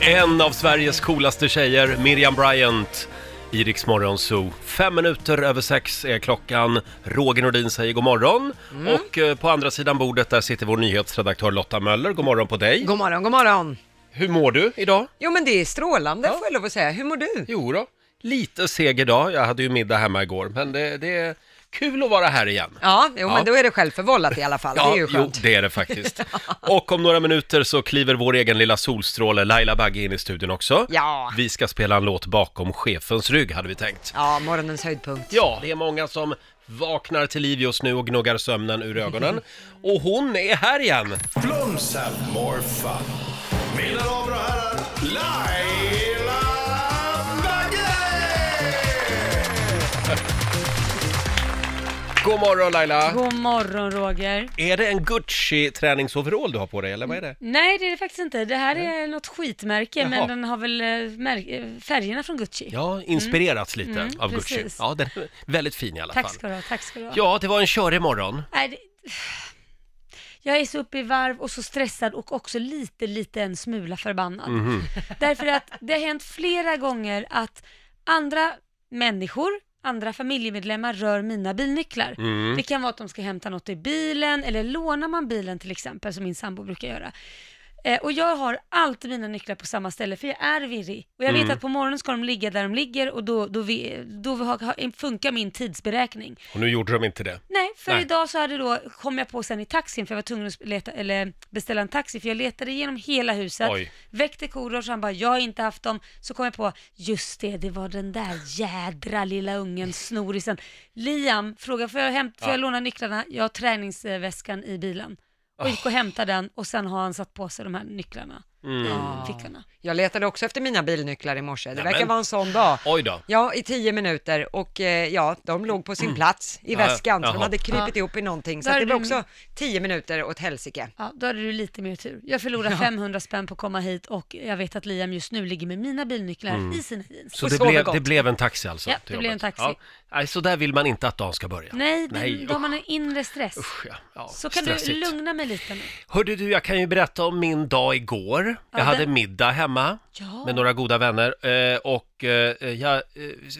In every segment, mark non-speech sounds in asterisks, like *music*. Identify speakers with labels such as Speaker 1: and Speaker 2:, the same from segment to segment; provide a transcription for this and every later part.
Speaker 1: En av Sveriges coolaste tjejer, Miriam Bryant, i Rix Morgon Zoo. Fem minuter över sex är klockan. Roger Nordin säger god morgon.
Speaker 2: Mm.
Speaker 1: Och eh, på andra sidan bordet där sitter vår nyhetsredaktör Lotta Möller. God morgon på dig.
Speaker 2: God morgon, god morgon.
Speaker 1: Hur mår du idag?
Speaker 2: Jo men det är strålande får jag lov att säga. Hur mår du?
Speaker 1: Jo då, lite seg idag. Jag hade ju middag hemma igår, men det, det är kul att vara här igen.
Speaker 2: Ja, jo
Speaker 1: Ja.
Speaker 2: men då är det självförvållat i alla fall. det är ju
Speaker 1: jo,
Speaker 2: skönt.
Speaker 1: det är det
Speaker 2: *laughs*
Speaker 1: faktiskt. Och om några minuter så kliver vår egen lilla solstråle Laila Bagge in i studion också.
Speaker 2: Ja.
Speaker 1: Vi ska spela en låt bakom chefens rygg, hade vi tänkt.
Speaker 2: Ja, morgonens höjdpunkt.
Speaker 1: Ja, det är många som vaknar till liv just nu och gnuggar sömnen ur ögonen. Och hon är här igen!
Speaker 3: Blooms have more fun. Mina damer och herrar, Laila Bagge!
Speaker 1: God morgon Laila!
Speaker 4: God morgon Roger.
Speaker 1: Är det en Gucci-träningsoverall du har på dig, eller vad är det?
Speaker 4: Nej det är det faktiskt inte. Det här är något skitmärke
Speaker 1: Jaha.
Speaker 4: men den har väl eh, märk- eh, färgerna från Gucci.
Speaker 1: Ja, inspirerats lite
Speaker 4: Mm,
Speaker 1: av
Speaker 4: precis.
Speaker 1: Gucci. Ja, den är väldigt fin i alla
Speaker 4: tack
Speaker 1: fall.
Speaker 4: ska du ha, tack ska du ha.
Speaker 1: Ja, det var en körig morgon.
Speaker 4: Nej, det... *sighs* Jag är så uppe i varv och så stressad och också lite, lite en smula förbannad.
Speaker 1: Mhm.
Speaker 4: Därför att det har hänt flera gånger att andra människor, andra familjemedlemmar rör mina bilnycklar. Det kan vara att de ska hämta något i bilen eller lånar man bilen till exempel som min sambo brukar göra. Eh, och jag har alltid mina nycklar på samma ställe för jag är virrig. Och jag vet att på morgonen ska de ligga där de ligger och då, då, vi, då har- funkar min tidsberäkning.
Speaker 1: Och nu gjorde de inte det.
Speaker 4: Nej, för
Speaker 1: Nej.
Speaker 4: idag så hade då, kom jag på sen i taxin, för jag var tvungen att leta, eller beställa en taxi, för jag letade igenom hela huset,
Speaker 1: Oj.
Speaker 4: väckte Korosh, han bara, jag har inte haft dem, så kom jag på, just det, det var den där jädra lilla ungen, snorisen. Liam frågade, får jag, hämt, får jag låna nycklarna? Jag har träningsväskan i bilen. Och gick och hämtade den och sen har han satt på sig de här nycklarna
Speaker 1: Mm.
Speaker 4: i fickorna.
Speaker 2: Jag letade också efter mina bilnycklar i morse. Det
Speaker 1: Nämen.
Speaker 2: verkar vara en sån dag.
Speaker 1: Oj då. Mm.
Speaker 2: Ja, i tio minuter och eh, ja, de låg på sin plats i
Speaker 1: Ja,
Speaker 2: väskan, så
Speaker 1: jaha.
Speaker 2: de hade krypit ihop i någonting, så
Speaker 4: Där
Speaker 2: att det
Speaker 4: är
Speaker 2: var
Speaker 4: du-
Speaker 2: också tio minuter åt helsike.
Speaker 4: Ja, då hade du lite mer tur.
Speaker 1: *laughs*
Speaker 4: Jag förlorade 500 spänn på att komma hit och jag vet att Liam just nu ligger med mina bilnycklar i sina jeans.
Speaker 1: Mm. Så
Speaker 2: Och
Speaker 1: det
Speaker 2: sover
Speaker 1: blev,
Speaker 2: gott.
Speaker 1: det blev en taxi alltså?
Speaker 4: Ja,
Speaker 1: till
Speaker 4: det blev
Speaker 1: jobbet.
Speaker 4: en taxi.
Speaker 1: Nej, så där vill man inte att dagen ska börja.
Speaker 4: Nej, det,
Speaker 1: Nej,
Speaker 4: då har man en inre stress.
Speaker 1: Usch, ja. Ja,
Speaker 4: Så kan
Speaker 1: stressigt.
Speaker 4: du lugna mig lite nu?
Speaker 1: Hörde du, jag kan ju berätta om min dag igår. Jag
Speaker 4: Ja,
Speaker 1: hade
Speaker 4: den-
Speaker 1: middag hemma
Speaker 4: Ja.
Speaker 1: med några goda vänner. Eh, och eh, jag, eh,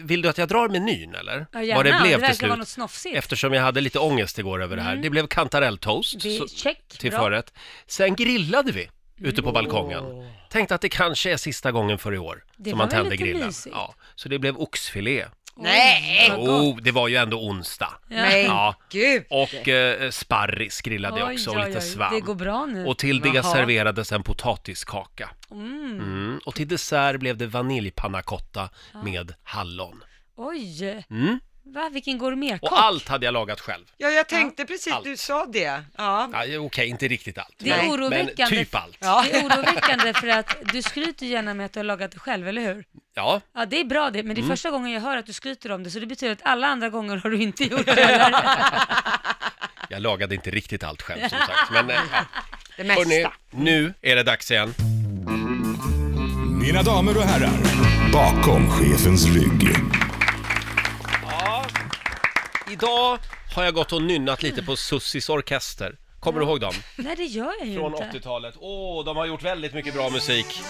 Speaker 1: vill du att jag drar menyn eller?
Speaker 4: Ja, gärna.
Speaker 1: Vad det blev
Speaker 4: verkar
Speaker 1: till slut.
Speaker 4: vara något snofsigt.
Speaker 1: Eftersom jag hade lite ångest igår över det här. Det blev kantarelltoast
Speaker 4: Det är
Speaker 1: så-
Speaker 4: check,
Speaker 1: till
Speaker 4: bra.
Speaker 1: förrätt. Sen grillade vi ute på balkongen. Tänkte att det kanske är sista gången för i år
Speaker 4: Det
Speaker 1: som
Speaker 4: var
Speaker 1: man
Speaker 4: väl
Speaker 1: tände
Speaker 4: lite
Speaker 1: grillen.
Speaker 4: mysigt.
Speaker 1: Ja, så det blev oxfilé.
Speaker 2: Nej!
Speaker 4: Vad gott.
Speaker 1: Oh, det var ju ändå onsdag.
Speaker 4: Ja.
Speaker 2: Nej,
Speaker 1: Ja.
Speaker 2: gud!
Speaker 1: Och eh, sparris grillade jag
Speaker 4: Oj,
Speaker 1: också och
Speaker 4: oj,
Speaker 1: lite
Speaker 4: oj.
Speaker 1: svamp.
Speaker 4: Det går bra nu.
Speaker 1: Och till det
Speaker 2: Jaha.
Speaker 1: serverades en potatiskaka. Mm. Och till dessert blev det vaniljpannacotta med hallon.
Speaker 4: Oj!
Speaker 1: Mm.
Speaker 4: Va, vilken gourmetkock.
Speaker 1: Och allt hade jag lagat själv.
Speaker 2: Ja, jag tänkte precis,
Speaker 1: Allt.
Speaker 2: du sa det. Ja,
Speaker 1: Ja, Okej, inte riktigt allt.
Speaker 4: Det är
Speaker 1: men,
Speaker 4: oroväckande.
Speaker 1: Men typ allt. Ja.
Speaker 2: Ja.
Speaker 4: Det är oroväckande för att du skryter gärna med att du har lagat det själv, eller hur? Ja, det är bra det, men det är
Speaker 1: Mm.
Speaker 4: första gången jag hör att du skryter om det, så det betyder att alla andra gånger har du
Speaker 2: *laughs*
Speaker 4: inte gjort det. eller?
Speaker 1: jag lagade inte riktigt allt själv som sagt. Men, eh, ja.
Speaker 2: det mesta.
Speaker 1: Hörrni, nu är det dags igen.
Speaker 3: Mina damer och herrar, bakom chefens rygg.
Speaker 1: Idag har jag gått och nynnat lite på Sussis Orkester. Kommer du ihåg dem?
Speaker 4: Nej, det gör jag ju
Speaker 1: Från
Speaker 4: inte.
Speaker 1: 80-talet. Åh, de har gjort väldigt mycket bra musik.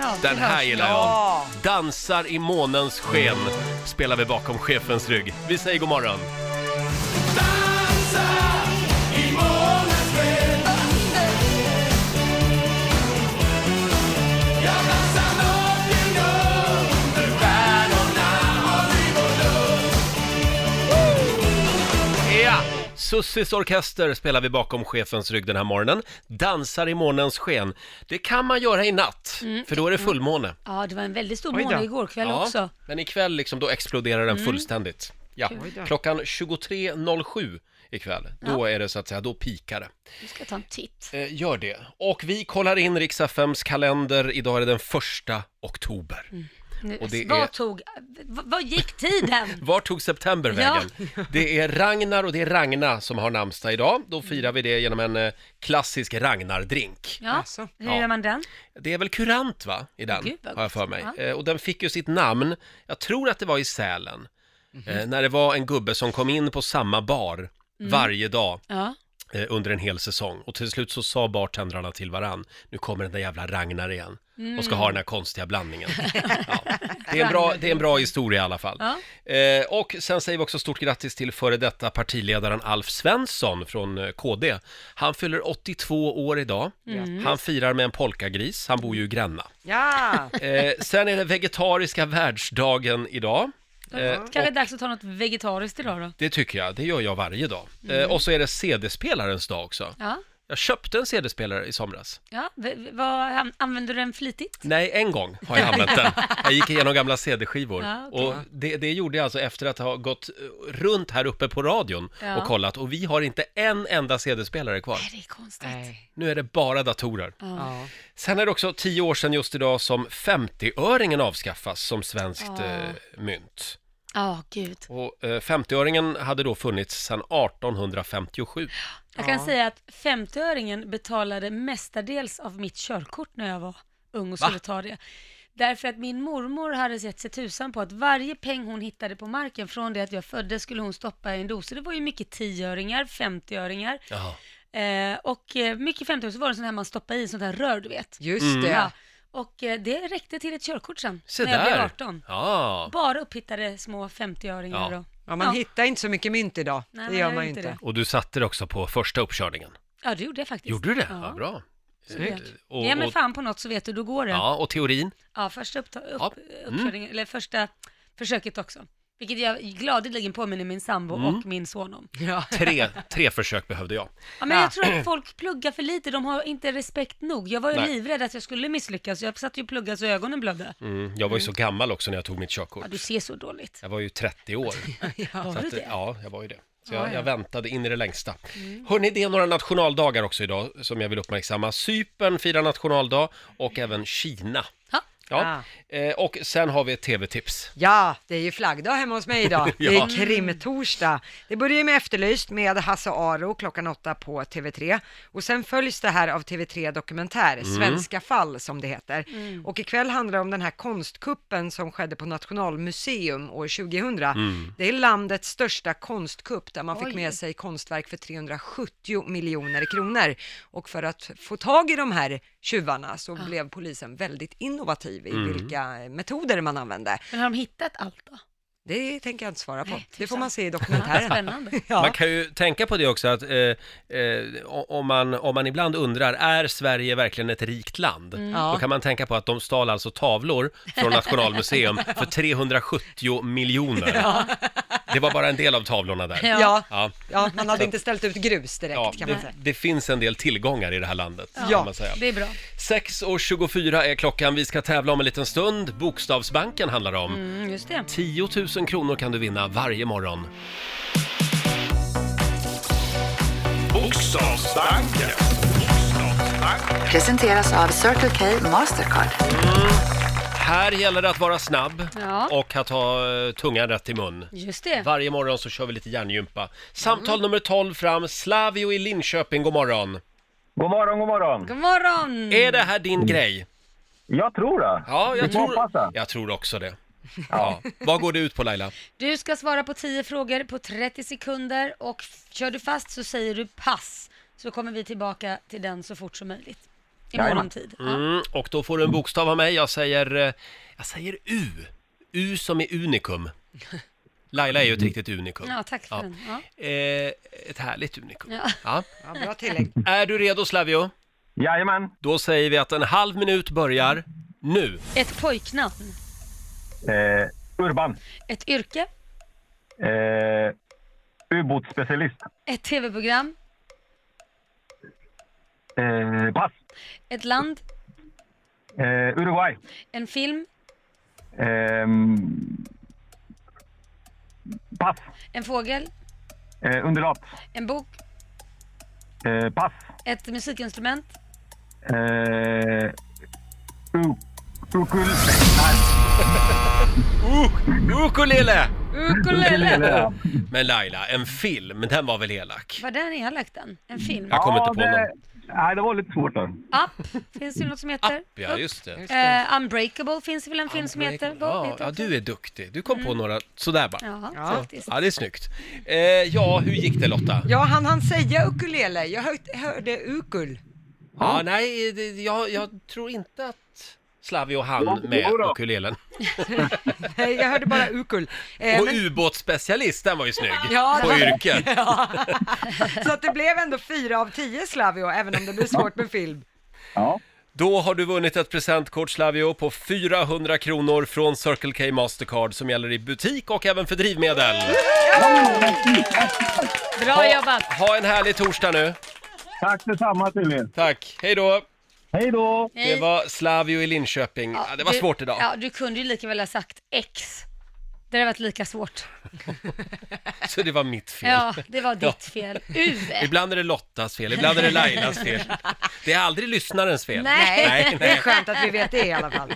Speaker 4: Ja, det
Speaker 1: Den här
Speaker 4: hörs.
Speaker 1: gillar jag. Dansar i månens sken spelar vi bakom chefens rygg. Vi säger god morgon. Ja! Sussis orkester spelar vi bakom chefens rygg den här morgonen. Dansar i månens sken. Det kan man göra i natt,
Speaker 2: Mm.
Speaker 1: för då är det fullmåne.
Speaker 4: Mm. Ja, det var en väldigt stor
Speaker 2: Oj då.
Speaker 4: måne igår kväll också.
Speaker 1: Men ikväll liksom, då exploderar den fullständigt. Ja.
Speaker 2: Mm. Oj då.
Speaker 1: Klockan 23.07 ikväll, då är det så att säga, då pikar det.
Speaker 4: Nu ska jag ta en titt.
Speaker 1: Eh, gör det. Och vi kollar in riks FMs kalender. Idag är det den första oktober.
Speaker 2: Mm.
Speaker 4: Nu,
Speaker 1: Och det
Speaker 4: vad
Speaker 1: är-
Speaker 4: tog... Vad, vad gick tiden?
Speaker 2: *laughs*
Speaker 1: Var tog september
Speaker 4: Ja.
Speaker 1: vägen? Det är Ragnar och det är Ragna som har namnsdag idag. Då firar vi det genom en eh, klassisk Ragnar-drink.
Speaker 4: Ja,
Speaker 2: Alltså.
Speaker 4: hur gör man den?
Speaker 1: Det är väl kurant va, i den,
Speaker 4: Gud, vad
Speaker 1: har jag
Speaker 4: gott.
Speaker 1: för mig.
Speaker 4: Ja.
Speaker 1: Eh, Och den fick ju sitt namn, jag tror att det var i
Speaker 4: Mhm. Mm.
Speaker 1: Sälen, eh, när det var en gubbe som kom in på samma bar varje dag
Speaker 4: Ja.
Speaker 1: eh, under en hel säsong. Och till slut så sa bartendrarna till varann, nu kommer den där jävla Ragnar igen och ska ha
Speaker 4: Mm.
Speaker 1: den här konstiga
Speaker 4: *laughs*
Speaker 1: blandningen. Ja. Det, är en bra, det är en bra historia i alla fall. Eh, och sen säger vi också stort grattis till före detta partiledaren Alf Svensson från eh, KD. Han fyller 82 år idag.
Speaker 2: Mm.
Speaker 4: Mm.
Speaker 1: Han firar med en polkagris, han bor ju i Gränna.
Speaker 2: Ja,
Speaker 1: Eh, sen är det vegetariska världsdagen idag. Eh,
Speaker 4: Kanske är det dags att ta något vegetariskt idag då?
Speaker 1: det tycker jag, det gör jag varje dag. Eh, och så är det CD-spelarens dag också.
Speaker 4: Ja,
Speaker 1: Jag köpte en CD-spelare i somras.
Speaker 4: ja. V- v- vad, an- använder du den flitigt?
Speaker 1: Nej, en gång har jag använt den. Jag gick igenom gamla CD-skivor.
Speaker 4: Ja, okej.
Speaker 1: Och det, det gjorde jag alltså efter att ha gått eh, runt här uppe på radion
Speaker 4: Ja.
Speaker 1: och kollat. Och vi har inte en enda CD-spelare kvar.
Speaker 4: Nej, det är konstigt.
Speaker 2: nej.
Speaker 1: Nu är det bara datorer.
Speaker 2: Ja.
Speaker 1: Sen är det också tio år sedan just idag som 50-öringen avskaffas som svenskt
Speaker 4: Ja.
Speaker 1: eh, mynt.
Speaker 4: Ja, gud.
Speaker 1: Och eh, 50-öringen hade då funnits sedan 1857.
Speaker 4: Jag kan
Speaker 2: Ja.
Speaker 4: säga att 50-öringen betalade mestadels av mitt körkort när jag var ung och
Speaker 1: Va?
Speaker 4: skulle ta det. Därför att min mormor hade sett sig tusan på att varje peng hon hittade på marken från det att jag föddes skulle hon stoppa i en dosa. Det var ju mycket 10-öringar, 50-öringar
Speaker 1: Jaha.
Speaker 4: eh, och eh, mycket 50-öringar. Så var det en sån här man stoppade i sånt här rör, du vet.
Speaker 2: Just det.
Speaker 4: Ja. Och eh, det räckte till ett körkort sen,
Speaker 1: Se
Speaker 4: när jag
Speaker 1: där!
Speaker 4: blev 18.
Speaker 1: Ja.
Speaker 4: Bara upphittade små 50-öringar.
Speaker 1: Ja.
Speaker 4: och-
Speaker 2: Ja, man hittar inte så mycket mynt idag.
Speaker 4: Nej,
Speaker 2: det
Speaker 4: man
Speaker 2: gör
Speaker 4: gör
Speaker 2: man ju
Speaker 4: inte
Speaker 2: inte.
Speaker 4: det.
Speaker 1: Och du satte det också på första uppkörningen.
Speaker 4: ja, det gjorde jag faktiskt.
Speaker 1: Gjorde du det? Ja,
Speaker 4: Ja.
Speaker 1: bra.
Speaker 4: Snyggt.
Speaker 1: Eh, Och,
Speaker 4: Ge mig
Speaker 1: och,
Speaker 4: fan på något så vet du, då går det.
Speaker 1: ja, och teorin?
Speaker 4: Ja, första uppta- upp-
Speaker 1: Ja.
Speaker 4: uppkörningen, eller första försöket också. Vilket jag gladeligen påminner min sambo och min son om.
Speaker 2: Ja.
Speaker 1: Tre, tre försök behövde jag.
Speaker 4: Ja, men
Speaker 2: Ja.
Speaker 4: jag tror att folk pluggar för lite, de har inte respekt nog. Jag var ju
Speaker 1: Nej.
Speaker 4: livrädd att jag skulle misslyckas, jag satt ju och pluggade så ögonen blödde.
Speaker 1: Mm, jag var ju så gammal också när jag tog mitt körkort.
Speaker 4: Ja, du ser så dåligt.
Speaker 1: Jag var ju 30
Speaker 4: *laughs*
Speaker 1: år.
Speaker 4: Var
Speaker 1: Så
Speaker 4: du
Speaker 1: att,
Speaker 4: det? Mm.
Speaker 1: ja, jag var ju det. Så jag, jag väntade in i det längsta. Hörni, det är några nationaldagar också idag som jag vill uppmärksamma. Cypern firar nationaldag och även Kina.
Speaker 4: Ja.
Speaker 1: Ja. Eh, och sen har vi ett tv-tips.
Speaker 2: Ja, det är ju flaggdag hemma hos mig idag. Det
Speaker 1: Ja.
Speaker 2: är krimtorsdag. Det börjar ju med Efterlyst med Hasse Aro klockan åtta på TV3. Och sen följs det här av TV3 Dokumentär, Svenska fall som det heter. Och ikväll handlar det om den här konstkuppen som skedde på Nationalmuseum år 2000. Det är landets största konstkupp där man fick
Speaker 4: Oj.
Speaker 2: med sig konstverk för 370 miljoner kronor. Och för att få tag i de här tjuvarna så
Speaker 4: Ah.
Speaker 2: blev polisen väldigt innovativ i
Speaker 1: Mm.
Speaker 2: vilka metoder man använde.
Speaker 4: Men har de hittat allt då?
Speaker 2: Det tänker jag inte svara på.
Speaker 4: Nej, tusan.
Speaker 2: det får man se i
Speaker 4: Ja,
Speaker 2: dokumentären.
Speaker 4: *laughs* spännande.
Speaker 1: Man
Speaker 2: *laughs* Ja.
Speaker 1: kan ju tänka på det också att eh, eh, o- om, man, om man ibland undrar, är Sverige verkligen ett rikt land?
Speaker 2: Ja.
Speaker 1: Då kan man tänka på att de stal alltså tavlor från Nationalmuseum
Speaker 2: *laughs*
Speaker 1: för 370 miljoner. Det var bara en del av tavlorna där.
Speaker 4: Ja.
Speaker 2: Ja.
Speaker 1: Ja.
Speaker 2: ja, man hade inte ställt ut grus direkt
Speaker 1: Ja,
Speaker 2: kan man
Speaker 1: det,
Speaker 2: säga.
Speaker 1: det finns en del tillgångar i det här landet,
Speaker 2: Ja.
Speaker 1: kan man säga.
Speaker 4: Det är bra.
Speaker 1: 6.24 är klockan, vi ska tävla om en liten stund. Bokstavsbanken handlar det om.
Speaker 4: Mm, just det.
Speaker 1: 10 000 kronor kan du vinna varje morgon.
Speaker 3: Bokstavsbanken.
Speaker 5: Presenteras av Circle K Mastercard.
Speaker 1: Här gäller det att vara snabb
Speaker 4: Ja.
Speaker 1: och att ha eh, tungan rätt i mun.
Speaker 4: Just det.
Speaker 1: Varje morgon så kör vi lite hjärngympa. Samtal nummer 12 fram, Slavio i Linköping, god morgon.
Speaker 6: God morgon, god morgon.
Speaker 4: God morgon!
Speaker 1: Mm. Är det här din grej?
Speaker 6: Mm. Jag tror det.
Speaker 1: Ja, jag
Speaker 6: Vi får
Speaker 1: tror,
Speaker 6: hoppas det.
Speaker 1: jag tror också det. Ja. Vad går det ut på Laila?
Speaker 4: Du ska svara på 10 frågor på 30 sekunder och f- kör du fast så säger du pass. Så kommer vi tillbaka till den så fort som möjligt. I
Speaker 6: Jajamän.
Speaker 4: morgontid. Ja.
Speaker 1: Mm, och då får du en bokstav av mig. Jag säger, eh, jag säger U. U som är
Speaker 4: *laughs*
Speaker 1: unikum. Laila är ju ett riktigt unikum.
Speaker 4: Ja, tack för
Speaker 1: Ja.
Speaker 4: den. Ja.
Speaker 1: Eh, ett härligt unikum.
Speaker 4: Ja.
Speaker 1: Ja.
Speaker 2: Ja, bra tillägg.
Speaker 1: Är du redo Slavio?
Speaker 6: Jajamän.
Speaker 1: Då säger vi att en halv minut börjar nu.
Speaker 4: Ett pojknamn.
Speaker 6: Eh, Urban.
Speaker 4: Ett yrke.
Speaker 6: Eh, ubåtsspecialist.
Speaker 4: Ett tv-program.
Speaker 6: Eh, pass.
Speaker 4: Ett land.
Speaker 6: Eh, Uruguay.
Speaker 4: En film.
Speaker 6: Ehm, pass.
Speaker 4: En fågel.
Speaker 6: Eh, underlat.
Speaker 4: En bok.
Speaker 6: Eh, pass.
Speaker 4: Ett musikinstrument.
Speaker 6: Eh, u- ukul...
Speaker 1: Ukulele! *laughs*
Speaker 4: Ukulele!
Speaker 6: Ja,
Speaker 1: Men Laila, en film, den var väl elak?
Speaker 4: Var den elak den? En film?
Speaker 1: Jag kommer inte på
Speaker 6: det,
Speaker 1: någon.
Speaker 6: Nej, det var lite svårt där.
Speaker 4: Up, finns det något som heter?
Speaker 1: Ja, just det.
Speaker 2: Just det.
Speaker 4: Eh, Unbreakable finns det väl en film som heter? Vad
Speaker 1: Ja,
Speaker 4: heter
Speaker 1: ja,
Speaker 4: den?
Speaker 1: du är duktig. Du kom på några sådär bara.
Speaker 4: Ja,
Speaker 2: Mm. Ja.
Speaker 4: faktiskt.
Speaker 1: Ja, det är snyggt. Eh, ja, hur gick det Lotta?
Speaker 2: Ja, han han säga ukulele? Jag hör- hörde ukul.
Speaker 1: Ja, nej, det, jag, jag tror inte att Slavio hann
Speaker 6: Jo,
Speaker 1: med
Speaker 6: jo då.
Speaker 1: ukulelen.
Speaker 2: *laughs* Nej, jag hörde bara ukul. Eh,
Speaker 1: Och
Speaker 2: men-
Speaker 1: ubåtsspecialist, den var ju snygg.
Speaker 2: Ja,
Speaker 1: på
Speaker 2: det-
Speaker 1: yrket.
Speaker 2: *laughs* Så att det blev ändå fyra av tio Slavio, även om det blir svårt med film.
Speaker 6: Ja.
Speaker 1: Då har du vunnit ett presentkort Slavio på 400 kronor från Circle K Mastercard som gäller i butik och även för drivmedel.
Speaker 4: Bra jobbat!
Speaker 1: Ha en härlig torsdag nu.
Speaker 6: Tack detsamma till er.
Speaker 1: Tack, hej då.
Speaker 6: Hej då!
Speaker 1: Det var Slavio i Linköping. Ja, det var
Speaker 4: du,
Speaker 1: svårt idag.
Speaker 4: Ja, du kunde ju lika väl ha sagt X. Det hade varit lika svårt.
Speaker 1: *laughs* Så det var mitt *laughs* fel.
Speaker 4: Ja, det var ditt fel. U.
Speaker 1: *laughs* Ibland är det Lottas fel, ibland är det Lailas fel. Det är aldrig lyssnarens fel.
Speaker 4: Nej. *laughs*
Speaker 1: nej,
Speaker 2: Det är
Speaker 1: nej.
Speaker 2: skönt att vi vet det i alla fall.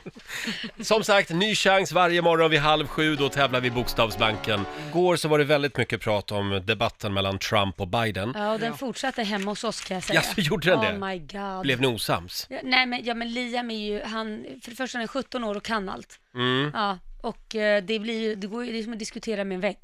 Speaker 1: Som sagt, ny chans varje morgon vid halv sju, då tävlar vi i Bokstavsbanken. Igår så var det väldigt mycket prat om debatten mellan Trump och Biden.
Speaker 4: Ja, och den fortsatte hemma hos oss kan jag säga.
Speaker 1: Mm. Ja, så gjorde den
Speaker 4: oh
Speaker 1: det?
Speaker 4: my god.
Speaker 1: Blev ni osams?
Speaker 4: Ja, Nej men, ja, men Liam är ju, han, för det första han är 17 år och kan allt.
Speaker 1: Mm.
Speaker 4: Ja, och eh, det blir ju, det går ju det är som att diskutera med en vägg.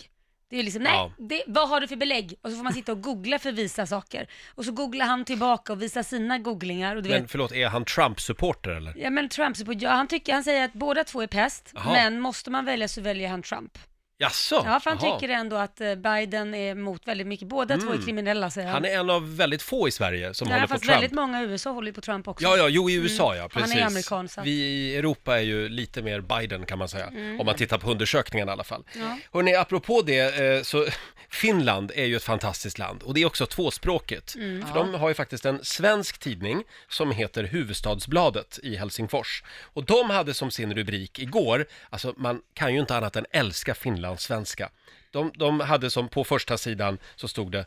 Speaker 4: Det är ju liksom, nej,
Speaker 1: Ja.
Speaker 4: det, vad har du för belägg? Och så får man sitta och googla för vissa saker. Och så googlar han tillbaka och visar sina googlingar och du
Speaker 1: Men
Speaker 4: vet.
Speaker 1: förlåt, är han Trump-supporter eller?
Speaker 4: Ja men Trump, så på- ja, han, tycker, han säger att båda två är pest,
Speaker 1: Jaha.
Speaker 4: men måste man välja så väljer han Trump.
Speaker 1: Jaså?
Speaker 4: Ja, för han
Speaker 1: Jaha. Mm.
Speaker 4: tycker ändå att eh, Biden är emot väldigt mycket, båda två är kriminella säger han.
Speaker 1: Han är en av väldigt få i Sverige som
Speaker 4: eh, ja,
Speaker 1: håller på
Speaker 4: fast
Speaker 1: Trump.
Speaker 4: väldigt många i USA håller ju på Trump också. Mm.
Speaker 1: Ja, ja, jo i USA ja,
Speaker 4: Han är
Speaker 1: precis.
Speaker 4: amerikan, så att- Mm.
Speaker 1: Vi i Europa är ju lite mer Biden kan man säga, om man tittar på undersökningarna i alla fall. Hörrni, apropå det, eh, så *laughs* Finland är ju ett fantastiskt land och det är också tvåspråkigt.
Speaker 4: Mm,
Speaker 1: För de har ju faktiskt en svensk tidning som heter Huvudstadsbladet i Helsingfors. Och de hade som sin rubrik igår, alltså man kan ju inte annat än älska finlandssvenska. De, de hade som på första sidan så stod det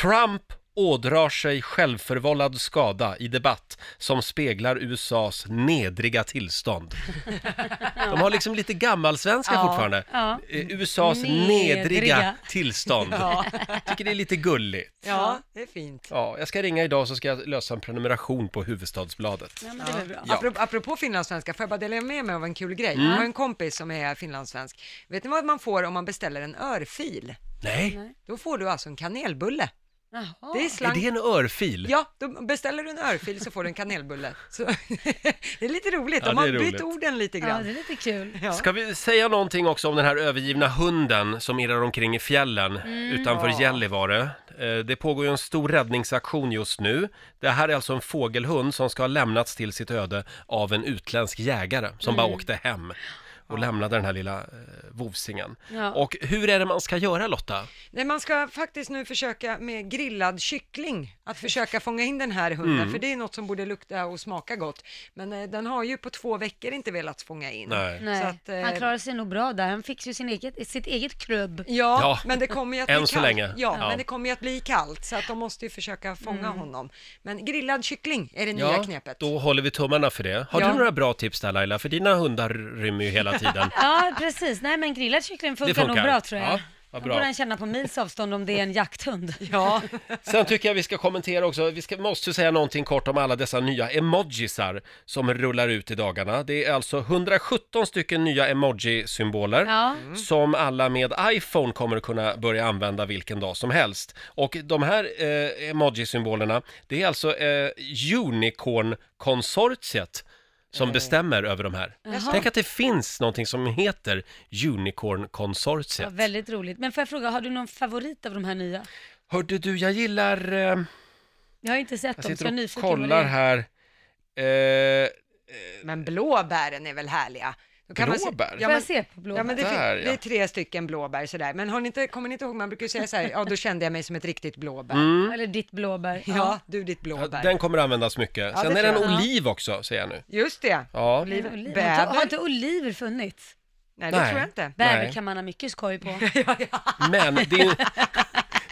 Speaker 1: Trump ådrar sig självförvållad skada i debatt som speglar USAs nedriga
Speaker 4: *laughs*
Speaker 1: tillstånd. De har liksom lite gammalsvenska fortfarande.
Speaker 4: ja.
Speaker 1: Eh, USAs nedriga,
Speaker 4: Nedriga.
Speaker 1: tillstånd. Jag tycker det är lite gulligt.
Speaker 2: Ja, det är fint.
Speaker 1: Ja, jag ska ringa idag så ska jag lösa en prenumeration på Huvudstadsbladet.
Speaker 4: Ja, men det var bra.
Speaker 1: Ja.
Speaker 2: Apropå, apropå finlandssvenska, får jag bara dela med mig av en kul
Speaker 1: Mm.
Speaker 2: grej? Jag har en kompis som är finlandssvensk. Vet ni vad man får om man beställer en örfil?
Speaker 1: Nej,
Speaker 2: Då får du alltså en kanelbulle.
Speaker 4: Jaha.
Speaker 2: Det är
Speaker 1: är
Speaker 2: slang.
Speaker 1: det en örfil?
Speaker 2: Ja, då beställer du en örfil så får du en kanelbulle. Så, *laughs* det är lite roligt,
Speaker 1: Ja,
Speaker 2: de
Speaker 1: det är
Speaker 2: har bytt
Speaker 1: roligt.
Speaker 2: orden lite
Speaker 4: Ja,
Speaker 2: grann.
Speaker 4: det är lite kul.
Speaker 2: Ja.
Speaker 1: Ska vi säga någonting också om den här övergivna hunden som irrar omkring i fjällen
Speaker 4: Mm.
Speaker 1: utanför Gällivare? Eh, Det pågår ju en stor räddningsaktion just nu. Det här är alltså en fågelhund som ska ha lämnats till sitt öde av en utländsk jägare som
Speaker 4: Mm.
Speaker 1: bara åkte hem och lämnade den här lilla eh, vovsingen.
Speaker 4: Ja.
Speaker 1: Och hur är det man ska göra Lotta?
Speaker 2: Nej, man ska faktiskt nu försöka med grillad kyckling, att försöka fånga in den här hunden,
Speaker 1: Mm.
Speaker 2: för det är något som borde lukta och smaka gott. Men eh, den har ju på två veckor inte velat fånga in.
Speaker 1: Nej.
Speaker 4: Nej,
Speaker 2: Så att, eh,
Speaker 4: han klarar sig nog bra där. Han fick ju sin eget, sitt eget krubb.
Speaker 2: Ja,
Speaker 1: Ja.
Speaker 2: men det
Speaker 1: *laughs*
Speaker 2: kommer ju att
Speaker 1: Än
Speaker 2: bli
Speaker 1: så
Speaker 2: kallt.
Speaker 1: länge.
Speaker 2: Ja,
Speaker 1: Ja.
Speaker 2: men det kommer ju att bli kallt, så att de måste ju försöka fånga
Speaker 4: Mm.
Speaker 2: honom. Men grillad kyckling är det nya knepet.
Speaker 1: då håller vi tummarna för det. Har
Speaker 2: Ja.
Speaker 1: du några bra tips där Laila? För dina hundar rymmer ju hela
Speaker 4: *laughs*
Speaker 1: tiden.
Speaker 4: Ja, precis. Nej, men grillad kyckling funkar,
Speaker 1: funkar.
Speaker 4: nog bra tror jag.
Speaker 1: Ja, vad bra.
Speaker 4: Då borde han känna på mils avstånd om det är en jakthund.
Speaker 2: *laughs* Ja,
Speaker 1: Sen tycker jag vi ska kommentera också, vi ska, måste säga någonting kort om alla dessa nya emojisar som rullar ut i dagarna. Det är alltså 117 stycken nya emoji-symboler
Speaker 4: Ja.
Speaker 1: som alla med iPhone kommer att kunna börja använda vilken dag som helst. Och de här eh, emoji-symbolerna, det är alltså eh, Unicorn-konsortiet som bestämmer över de här. Tänk att det finns någonting som heter
Speaker 4: *laughs* Ja,
Speaker 1: Unicorn-konsortiet.
Speaker 4: väldigt roligt. Men får jag fråga, har du någon favorit av de här nya?
Speaker 1: Hörde du, jag gillar... Eh,
Speaker 4: Jag har inte
Speaker 1: Jag
Speaker 4: sett dem, så jag är
Speaker 1: sitter och
Speaker 4: nyfiken. vad det
Speaker 1: kollar
Speaker 4: är.
Speaker 1: här. Eh,
Speaker 2: men blåbären är väl härliga? Då man se-
Speaker 1: Blåbär?
Speaker 2: Ja,
Speaker 4: Får
Speaker 2: men,
Speaker 4: jag se på blå?
Speaker 2: Ja, men det,
Speaker 1: Där,
Speaker 2: fin-
Speaker 1: ja.
Speaker 2: det är tre stycken blåbär sådär. Men har ni inte, kommer ni inte ihåg, man brukar ju säga så här, ja då kände jag mig som ett riktigt blåbär.
Speaker 4: Eller ditt blåbär.
Speaker 2: Ja, du ditt blåbär.
Speaker 1: Mm. den kommer att användas mycket.
Speaker 2: Ja,
Speaker 1: Sen
Speaker 2: det
Speaker 1: är det en
Speaker 2: tror jag.
Speaker 1: oliv också, säger jag nu. *laughs*
Speaker 2: Just det.
Speaker 1: Ja.
Speaker 4: Men oliv-
Speaker 2: Bäver.
Speaker 4: Har, inte, har inte oliver funnits?
Speaker 2: Nej, det
Speaker 1: Nej.
Speaker 2: tror jag inte.
Speaker 4: Bäver
Speaker 1: Nej.
Speaker 2: *laughs*
Speaker 4: kan man ha mycket skoj på.
Speaker 1: Men det är, ju,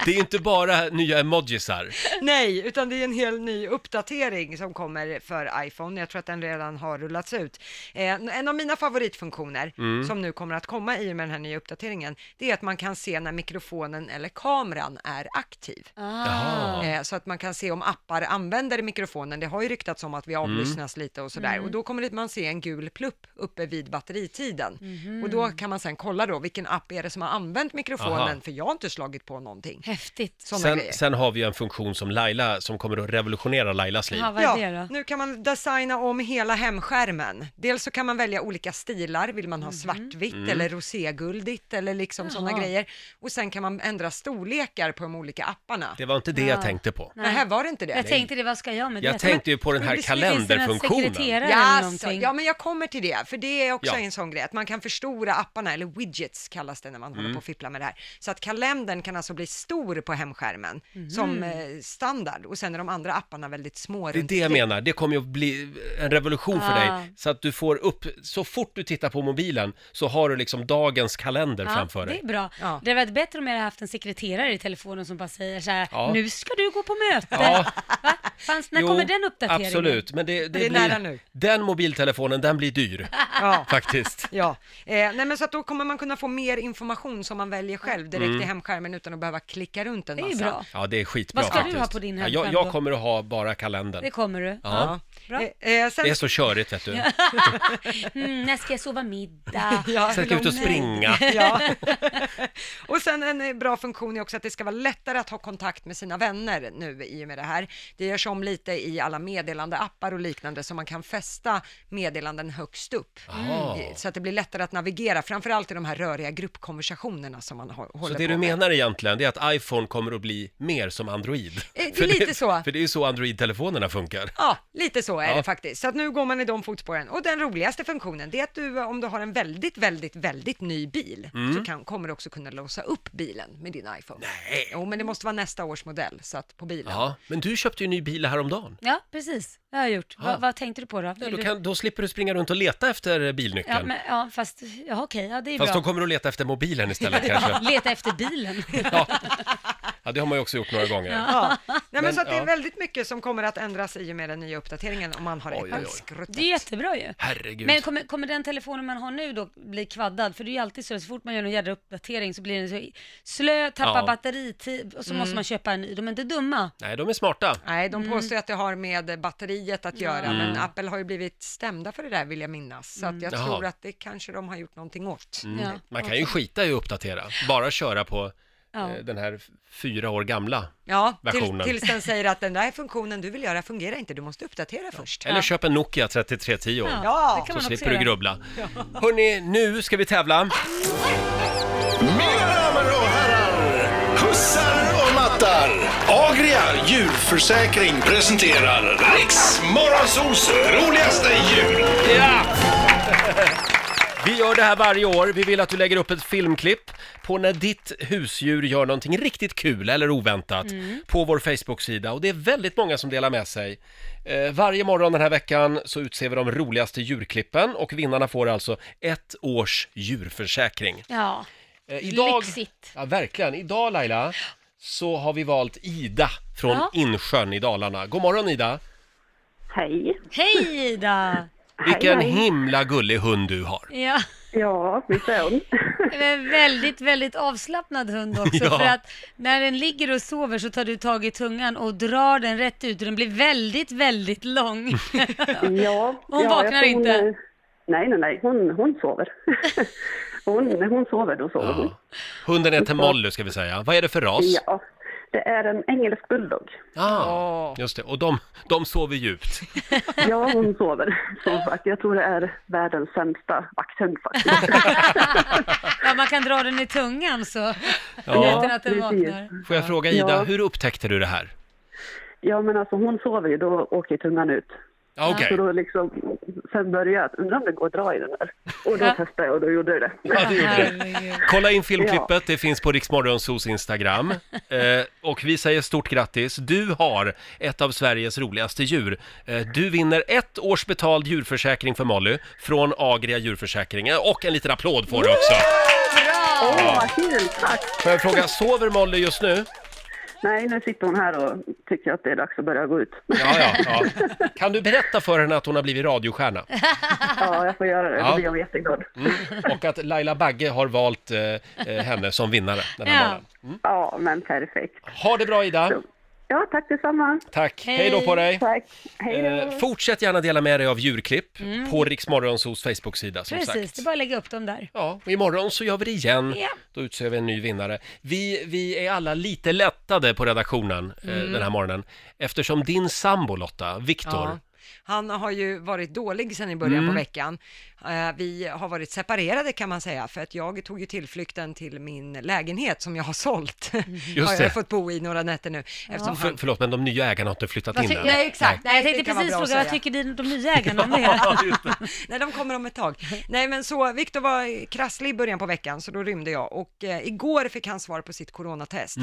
Speaker 1: Det är inte bara nya emojisar.
Speaker 2: *laughs* Nej, utan det är en hel ny uppdatering som kommer för iPhone. Jag tror att den redan har rullats ut. Eh, en av mina favoritfunktioner
Speaker 1: Mm.
Speaker 2: som nu kommer att komma i och med den här nya uppdateringen, det är att man kan se när mikrofonen eller kameran är aktiv.
Speaker 1: Jaha.
Speaker 2: Eh, så att man kan se om appar använder mikrofonen. Det har ju ryktats om att vi
Speaker 1: Mm.
Speaker 2: avlyssnas lite och sådär. Och då kommer det- man se en gul plupp uppe vid batteritiden. Och då kan man sen kolla då, vilken app är det som har använt mikrofonen?
Speaker 1: Aha.
Speaker 2: För jag har inte slagit på någonting.
Speaker 4: Häftigt.
Speaker 2: Sådana
Speaker 1: Sen,
Speaker 2: grejer.
Speaker 1: sen har vi en funktion som Laila, som kommer att revolutionera Lailas liv.
Speaker 4: Ja, vad är det
Speaker 2: Ja,
Speaker 4: då?
Speaker 2: nu kan man designa om hela hemskärmen. Dels så kan man välja olika stilar, vill man ha svartvitt
Speaker 1: Mm.
Speaker 2: eller roséguldigt eller liksom sådana
Speaker 4: Mhm. Jaha.
Speaker 2: grejer. Och sen kan man ändra storlekar på de olika apparna.
Speaker 1: Det var inte det jag tänkte på.
Speaker 2: Nej. här var det inte det?
Speaker 4: Jag tänkte det, vad ska jag med det?
Speaker 1: Jag tänkte ju på den
Speaker 4: Men
Speaker 1: här
Speaker 4: det skulle finnas en
Speaker 1: kalenderfunktionen.
Speaker 4: sekreterare eller
Speaker 2: Jaså,
Speaker 4: någonting.
Speaker 2: ja men jag kommer till det, för det är också
Speaker 1: Ja.
Speaker 2: en sån grej att man kan förstora apparna, eller widgets kallas det när
Speaker 1: Mm.
Speaker 2: man håller på och fipplar med det här. Så att kalendern kan alltså bli stor på hemskärmen
Speaker 4: Mhm.
Speaker 2: som eh, standard och sen är de andra apparna väldigt små.
Speaker 1: Det är
Speaker 2: runt
Speaker 1: det jag
Speaker 2: omkring.
Speaker 1: menar, det kommer ju att bli en revolution för
Speaker 4: Ah.
Speaker 1: dig. Så att du får upp, så fort du tittar på mobilen så har du liksom dagens kalender framför
Speaker 4: det
Speaker 1: dig.
Speaker 4: är bra.
Speaker 2: Ja.
Speaker 4: Det hade varit bättre om jag hade haft en sekreterare i telefonen som bara säger så här,
Speaker 1: Ja.
Speaker 4: nu ska du gå på möte.
Speaker 1: Ja.
Speaker 4: Va? Fanns, när
Speaker 1: Jo,
Speaker 4: kommer den uppdateringen?
Speaker 1: Absolut, men det, det,
Speaker 2: det är
Speaker 1: blir,
Speaker 2: nära nu.
Speaker 1: den mobiltelefonen den blir dyr
Speaker 2: *laughs* Ja.
Speaker 1: faktiskt.
Speaker 2: Ja, eh, nej men så att då kommer man kunna få mer information som man väljer själv direkt
Speaker 1: Mm.
Speaker 2: i hemskärmen utan att behöva klicka runt en
Speaker 4: Det
Speaker 2: massa.
Speaker 4: är ju bra.
Speaker 1: Ja, det är skitbra
Speaker 4: Vad ska du
Speaker 1: faktiskt.
Speaker 4: ha på din
Speaker 1: ja, jag,
Speaker 4: hemskärm
Speaker 1: jag
Speaker 4: då?
Speaker 1: kommer att ha bara kalendern.
Speaker 4: Det kommer du.
Speaker 1: Ja.
Speaker 4: Bra.
Speaker 2: Eh, eh, sen,
Speaker 1: Det är så körigt vet du.
Speaker 4: *laughs* *laughs* Mm, när ska jag sova middag?
Speaker 2: *laughs* Ja.
Speaker 1: Sen ska jag ut och
Speaker 4: Nej.
Speaker 1: springa.
Speaker 4: *laughs*
Speaker 2: Ja. och sen en eh, bra funktion är också att det ska vara lättare att ha kontakt med sina vänner nu i och med det här. Det görs om lite i alla meddelandeappar och liknande så man kan fästa meddelanden högst upp.
Speaker 1: Jaha.
Speaker 2: Eh, Så att det blir lättare att navigera, framförallt i de här röriga gruppkonversationerna som man hå- håller
Speaker 1: Så det
Speaker 2: på
Speaker 1: du
Speaker 2: med.
Speaker 1: menar egentligen, det är att iPhone kommer att bli mer som
Speaker 4: Eh,
Speaker 1: Android?
Speaker 2: det är
Speaker 1: För
Speaker 2: lite så.
Speaker 1: För det är ju så Android-telefonerna funkar.
Speaker 2: Ja, lite så är
Speaker 1: Ja.
Speaker 2: det faktiskt. Så att nu går man i de fotspåren. Och den roligaste funktionen, det är att du, eh, om du har en väldigt, väldigt, väldigt ny bil,
Speaker 1: Mm.
Speaker 2: så kan, kommer du också kunna låsa upp bilen med din iPhone. Nej! Jo, men det måste vara nästa års modell, så att på bilen.
Speaker 1: Ja, men du köpte ju en ny bil häromdagen.
Speaker 4: Ja, precis. Det har jag gjort. Vad- vad tänkte du på då?
Speaker 1: Ja,
Speaker 4: Vill
Speaker 1: då,
Speaker 4: du-
Speaker 1: kan, då slipper du springa runt och leta efter bilnyckeln.
Speaker 4: ja, men, ja, fast ja, okej, ja, det är
Speaker 1: Fast
Speaker 4: bra.
Speaker 1: de kommer att leta efter mobilen istället
Speaker 4: *laughs*
Speaker 1: kanske.
Speaker 4: Leta efter bilen.
Speaker 1: *laughs* Ja. ja, det har man ju också gjort några gånger.
Speaker 2: Ja. Nej, men,
Speaker 1: Men,
Speaker 2: så att det
Speaker 1: ja.
Speaker 2: är väldigt mycket som kommer att ändras i och med den nya uppdateringen om man har
Speaker 1: Oj, oj, oj.
Speaker 2: Apple-skruttet.
Speaker 4: Det är jättebra ju.
Speaker 1: Herregud.
Speaker 4: Men kommer, kommer den telefonen man har nu då bli kvaddad? För det är ju alltid så, så fort man gör någon jädra uppdatering så blir den så slö, tappar
Speaker 1: Ja.
Speaker 4: batteritid och så
Speaker 7: Mm.
Speaker 4: måste man köpa en ny. De är inte dumma.
Speaker 1: Nej, de är smarta.
Speaker 2: Nej,
Speaker 4: Mm.
Speaker 2: de påstår ju att det har med batteriet att göra, men Apple har ju blivit stämda för det där vill jag minnas. Så
Speaker 1: Mm.
Speaker 2: att jag
Speaker 1: Jaha. Mm.
Speaker 2: tror att det kanske de har gjort någonting åt.
Speaker 4: Mm. Ja.
Speaker 1: Man kan ju skita i att uppdatera, bara köra på
Speaker 4: Ja.
Speaker 1: eh, den här f- fyra år gamla.
Speaker 2: Ja, till,
Speaker 1: Versionen.
Speaker 2: tills den säger att den där funktionen du vill göra fungerar inte, du måste uppdatera först.
Speaker 1: Eller köp en Nokia 3310.
Speaker 2: Ja.
Speaker 4: det kan
Speaker 1: Så
Speaker 4: man också
Speaker 1: slipper du
Speaker 4: göra.
Speaker 1: grubbla. Hörni, nu ska vi tävla.
Speaker 3: Mina damer och herrar, hussar och mattar. Agria djurförsäkring presenterar Riks Morgonzoos roligaste jul.
Speaker 1: Vi gör det här varje år. Vi vill att du lägger upp ett filmklipp på när ditt husdjur gör någonting riktigt kul eller oväntat
Speaker 4: Mm.
Speaker 1: på vår Facebook-sida. Och det är väldigt många som delar med sig. Eh, varje morgon den här veckan så utser vi de roligaste djurklippen och vinnarna får alltså ett års djurförsäkring.
Speaker 4: Ja,
Speaker 1: Eh, idag,
Speaker 4: lyxigt.
Speaker 1: ja, verkligen. Idag Laila så har vi valt Ida från
Speaker 4: Ja.
Speaker 1: Insjön i Dalarna. God morgon Ida!
Speaker 7: Hej!
Speaker 4: Hej Ida!
Speaker 1: Vilken
Speaker 7: hej.
Speaker 1: himla gullig hund du har!
Speaker 4: Ja,
Speaker 7: Ja, visst är
Speaker 5: *laughs*
Speaker 7: hon?
Speaker 4: en väldigt, väldigt avslappnad hund också.
Speaker 1: Ja.
Speaker 4: För att när den ligger och sover så tar du tag i tungan och drar den rätt ut och den blir väldigt, väldigt lång.
Speaker 1: *laughs*
Speaker 7: Ja.
Speaker 4: Hon
Speaker 7: ja,
Speaker 4: vaknar
Speaker 7: jag tror
Speaker 4: inte.
Speaker 7: eh, Nej, nej, nej. Hon, hon sover. hon, när hon sover, då sover hon.
Speaker 1: Ja. Hunden heter Molly ska vi säga. Vad är det för ras?
Speaker 7: Ja. Det är en engelsk bulldog.
Speaker 1: Ah, just det. Och de, de sover djupt.
Speaker 7: Ja, hon sover. Som sagt, jag tror det är världens sämsta vakthund faktiskt.
Speaker 4: Ja, man kan dra den i tungan så
Speaker 1: Ja.
Speaker 4: utan att den
Speaker 7: precis.
Speaker 4: vaknar.
Speaker 1: Får jag fråga Ida,
Speaker 7: Ja.
Speaker 1: hur upptäckte du det här?
Speaker 7: Ja, men alltså hon sover ju, då åker ju tungan ut.
Speaker 1: Ja, Okej,
Speaker 7: Så då liksom, sen började jag att undra om det går att dra i den där. Och då
Speaker 4: Ja.
Speaker 7: testade jag och då gjorde jag det.
Speaker 1: ja, det
Speaker 7: *laughs*
Speaker 1: gjorde det.
Speaker 4: Herregud.
Speaker 1: Kolla in filmklippet, det finns på Riksmorgonsos Instagram. Eh, och vi säger stort grattis. Du har ett av Sveriges roligaste djur. Eh, du vinner ett års betald djurförsäkring för Molly från Agria djurförsäkring. Eh, Och en liten applåd får du också.
Speaker 7: Åh, vad kul! Tack!
Speaker 1: Får jag fråga, sover Molly just nu?
Speaker 7: Nej, nu sitter hon här och tycker att det är dags att börja gå ut.
Speaker 1: Ja, ja, ja. Kan du berätta för henne att hon har blivit radiostjärna?
Speaker 7: Ja, jag får göra det.
Speaker 1: Ja.
Speaker 7: Då blir hon jätteglad.
Speaker 1: Mm. Och att Laila Bagge har valt eh, eh, henne som vinnare den här
Speaker 4: Ja.
Speaker 1: morgonen. Mm.
Speaker 7: Ja, men perfekt.
Speaker 1: Ha det bra Ida!
Speaker 7: Ja, tack detsamma.
Speaker 1: Tack!
Speaker 4: Hej.
Speaker 1: Hej då på dig!
Speaker 7: Tack. Hej då.
Speaker 1: Eh, fortsätt gärna dela med dig av djurklipp på Riksmorgonsos Facebook-sida som
Speaker 4: Precis, det är
Speaker 1: sagt.
Speaker 4: bara att lägga upp dem där.
Speaker 1: Ja, och imorgon så gör vi det igen.
Speaker 4: Ja.
Speaker 1: Då utser vi en ny vinnare. Vi, vi är alla lite lättade på redaktionen
Speaker 2: Mm.
Speaker 1: eh, den här morgonen eftersom din sambo Lotta, Viktor,
Speaker 2: Ja. Han har ju varit dålig sedan i början
Speaker 1: Mm.
Speaker 2: på veckan. Eh, Vi har varit separerade kan man säga, för att jag tog ju tillflykten till min lägenhet som jag har sålt. *laughs* har jag
Speaker 1: det.
Speaker 2: fått bo i några nätter nu. Eftersom
Speaker 1: För,
Speaker 2: han...
Speaker 1: förlåt men de nya ägarna har inte flyttat
Speaker 2: Vad
Speaker 1: in
Speaker 2: ty-
Speaker 1: än.
Speaker 2: Nej, exakt.
Speaker 4: Nej, jag
Speaker 2: det
Speaker 4: tänkte
Speaker 2: kan vara
Speaker 4: precis
Speaker 2: bra att
Speaker 4: fråga, vad
Speaker 2: säga.
Speaker 4: tycker din- de nya
Speaker 1: *laughs*
Speaker 4: ägarna om det hela?
Speaker 2: *laughs* Nej, de kommer om ett tag. Nej, men så Viktor var krasslig i början på veckan, så då rymde jag. Och eh, igår fick han svar på sitt coronatest.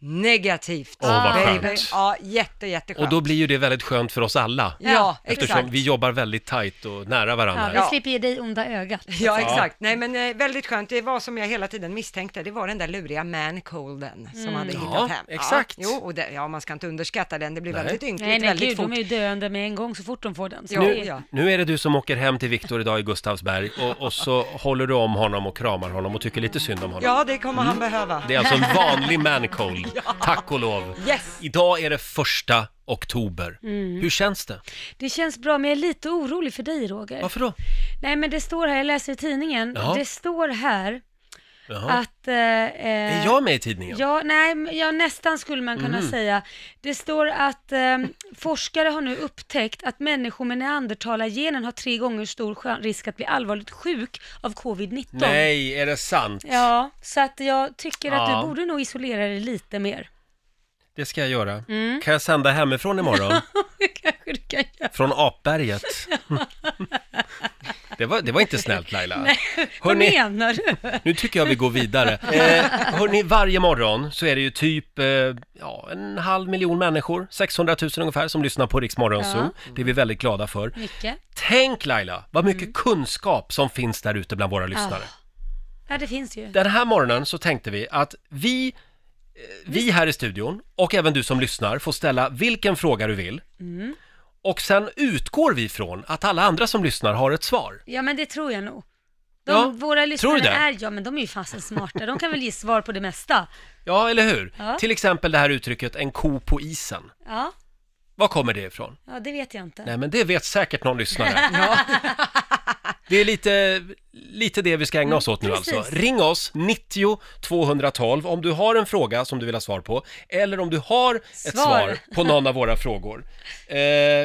Speaker 2: Negativt.
Speaker 1: Mm. Åh, vad skönt.
Speaker 2: Ja, jätte, jätteskönt.
Speaker 1: Och då blir ju det väldigt skönt för oss alla.
Speaker 2: Ja,
Speaker 1: Eftersom
Speaker 2: exakt.
Speaker 1: vi jobbar väldigt tajt och nära varandra.
Speaker 4: Ja,
Speaker 2: Ja.
Speaker 4: vi slipper ge dig onda ögat.
Speaker 2: Ja, exakt. Nej, men eh, väldigt skönt. Det var som jag hela tiden misstänkte. Det var den där luriga man-colden
Speaker 4: Mm.
Speaker 2: som hade hittat
Speaker 1: Ja,
Speaker 2: hem.
Speaker 1: exakt.
Speaker 2: Ja, jo, och det, ja, man ska inte underskatta den. Det blir
Speaker 1: Nej.
Speaker 2: väldigt ynkligt
Speaker 4: Nej, nej,
Speaker 2: väldigt
Speaker 4: gud,
Speaker 2: fort.
Speaker 4: de är ju döende med en gång så fort de får den. Så
Speaker 2: Jo,
Speaker 4: det är-
Speaker 2: ja.
Speaker 1: Nu är det du som åker hem till Viktor idag i Gustavsberg och, och så håller du om honom och kramar honom och tycker lite synd om honom.
Speaker 2: Ja, det kommer han behöva.
Speaker 1: Det är alltså
Speaker 2: *laughs*
Speaker 1: en vanlig mancold,
Speaker 4: *laughs*
Speaker 1: tack och lov.
Speaker 2: Yes!
Speaker 1: Idag är det första oktober.
Speaker 4: Mm.
Speaker 1: Hur känns det?
Speaker 4: Det känns bra, men jag är lite orolig för dig Roger.
Speaker 1: Varför då?
Speaker 4: Nej, men det står här, jag läser i tidningen,
Speaker 1: Ja.
Speaker 4: det står här
Speaker 1: Jaha.
Speaker 4: att... Eh, eh,
Speaker 1: Är jag med i tidningen? Mm.
Speaker 4: Ja, nej, men- ja, nästan skulle man kunna säga. Det står att eh, forskare har nu upptäckt att människor med neandertalargenen har tre gånger stor skö- risk att bli allvarligt sjuk av covid-19.
Speaker 1: Nej, är det sant?
Speaker 4: Ja, så att jag tycker att
Speaker 1: Ja.
Speaker 4: du borde nog isolera dig lite mer.
Speaker 1: Det ska jag göra.
Speaker 4: Mm.
Speaker 1: Kan jag sända hemifrån
Speaker 4: *laughs*
Speaker 1: imorgon?
Speaker 4: Det kanske du kan göra.
Speaker 1: Från Apberget?
Speaker 4: *laughs*
Speaker 1: det, var, det var inte snällt Laila.
Speaker 4: Vad
Speaker 1: Hörrni-
Speaker 4: menar du?
Speaker 1: Nu tycker jag vi går
Speaker 4: *laughs*
Speaker 1: vidare. Eh, hörni, varje morgon så är det ju typ eh, ja, en halv miljon människor, 600 000 ungefär, som lyssnar på Rix Morgonzoo. Det är vi väldigt glada för.
Speaker 4: Mycket.
Speaker 1: Tänk Laila, vad mycket
Speaker 4: Mm.
Speaker 1: kunskap som finns där ute
Speaker 4: Ah.
Speaker 1: bland våra lyssnare.
Speaker 4: Ja, det finns ju.
Speaker 1: Den här morgonen så tänkte vi att vi, eh, vi här i studion och även du som lyssnar får ställa vilken fråga du vill.
Speaker 4: Mm.
Speaker 1: Och sen utgår vi från att alla andra som lyssnar har ett svar.
Speaker 4: Ja, men det tror jag nog. De,
Speaker 1: Ja,
Speaker 4: våra lyssnare
Speaker 1: tror du det?
Speaker 4: är, ja men de är ju fasen smarta, de kan väl ge svar på det mesta.
Speaker 1: Ja, eller hur?
Speaker 4: Ja.
Speaker 1: Till exempel det här uttrycket en ko på isen.
Speaker 4: Ja,
Speaker 1: Var kommer det ifrån?
Speaker 4: ja det vet jag inte.
Speaker 1: Nej, men det vet säkert någon lyssnare.
Speaker 4: *laughs*
Speaker 1: Det är lite, lite det vi ska ägna oss åt nu
Speaker 4: Mm, precis.
Speaker 1: alltså. Ring oss, 90 212, om du har en fråga som du vill ha svar på, eller om du har ett svar,
Speaker 4: Svar.
Speaker 1: på någon
Speaker 4: *laughs*
Speaker 1: av våra frågor. Eh,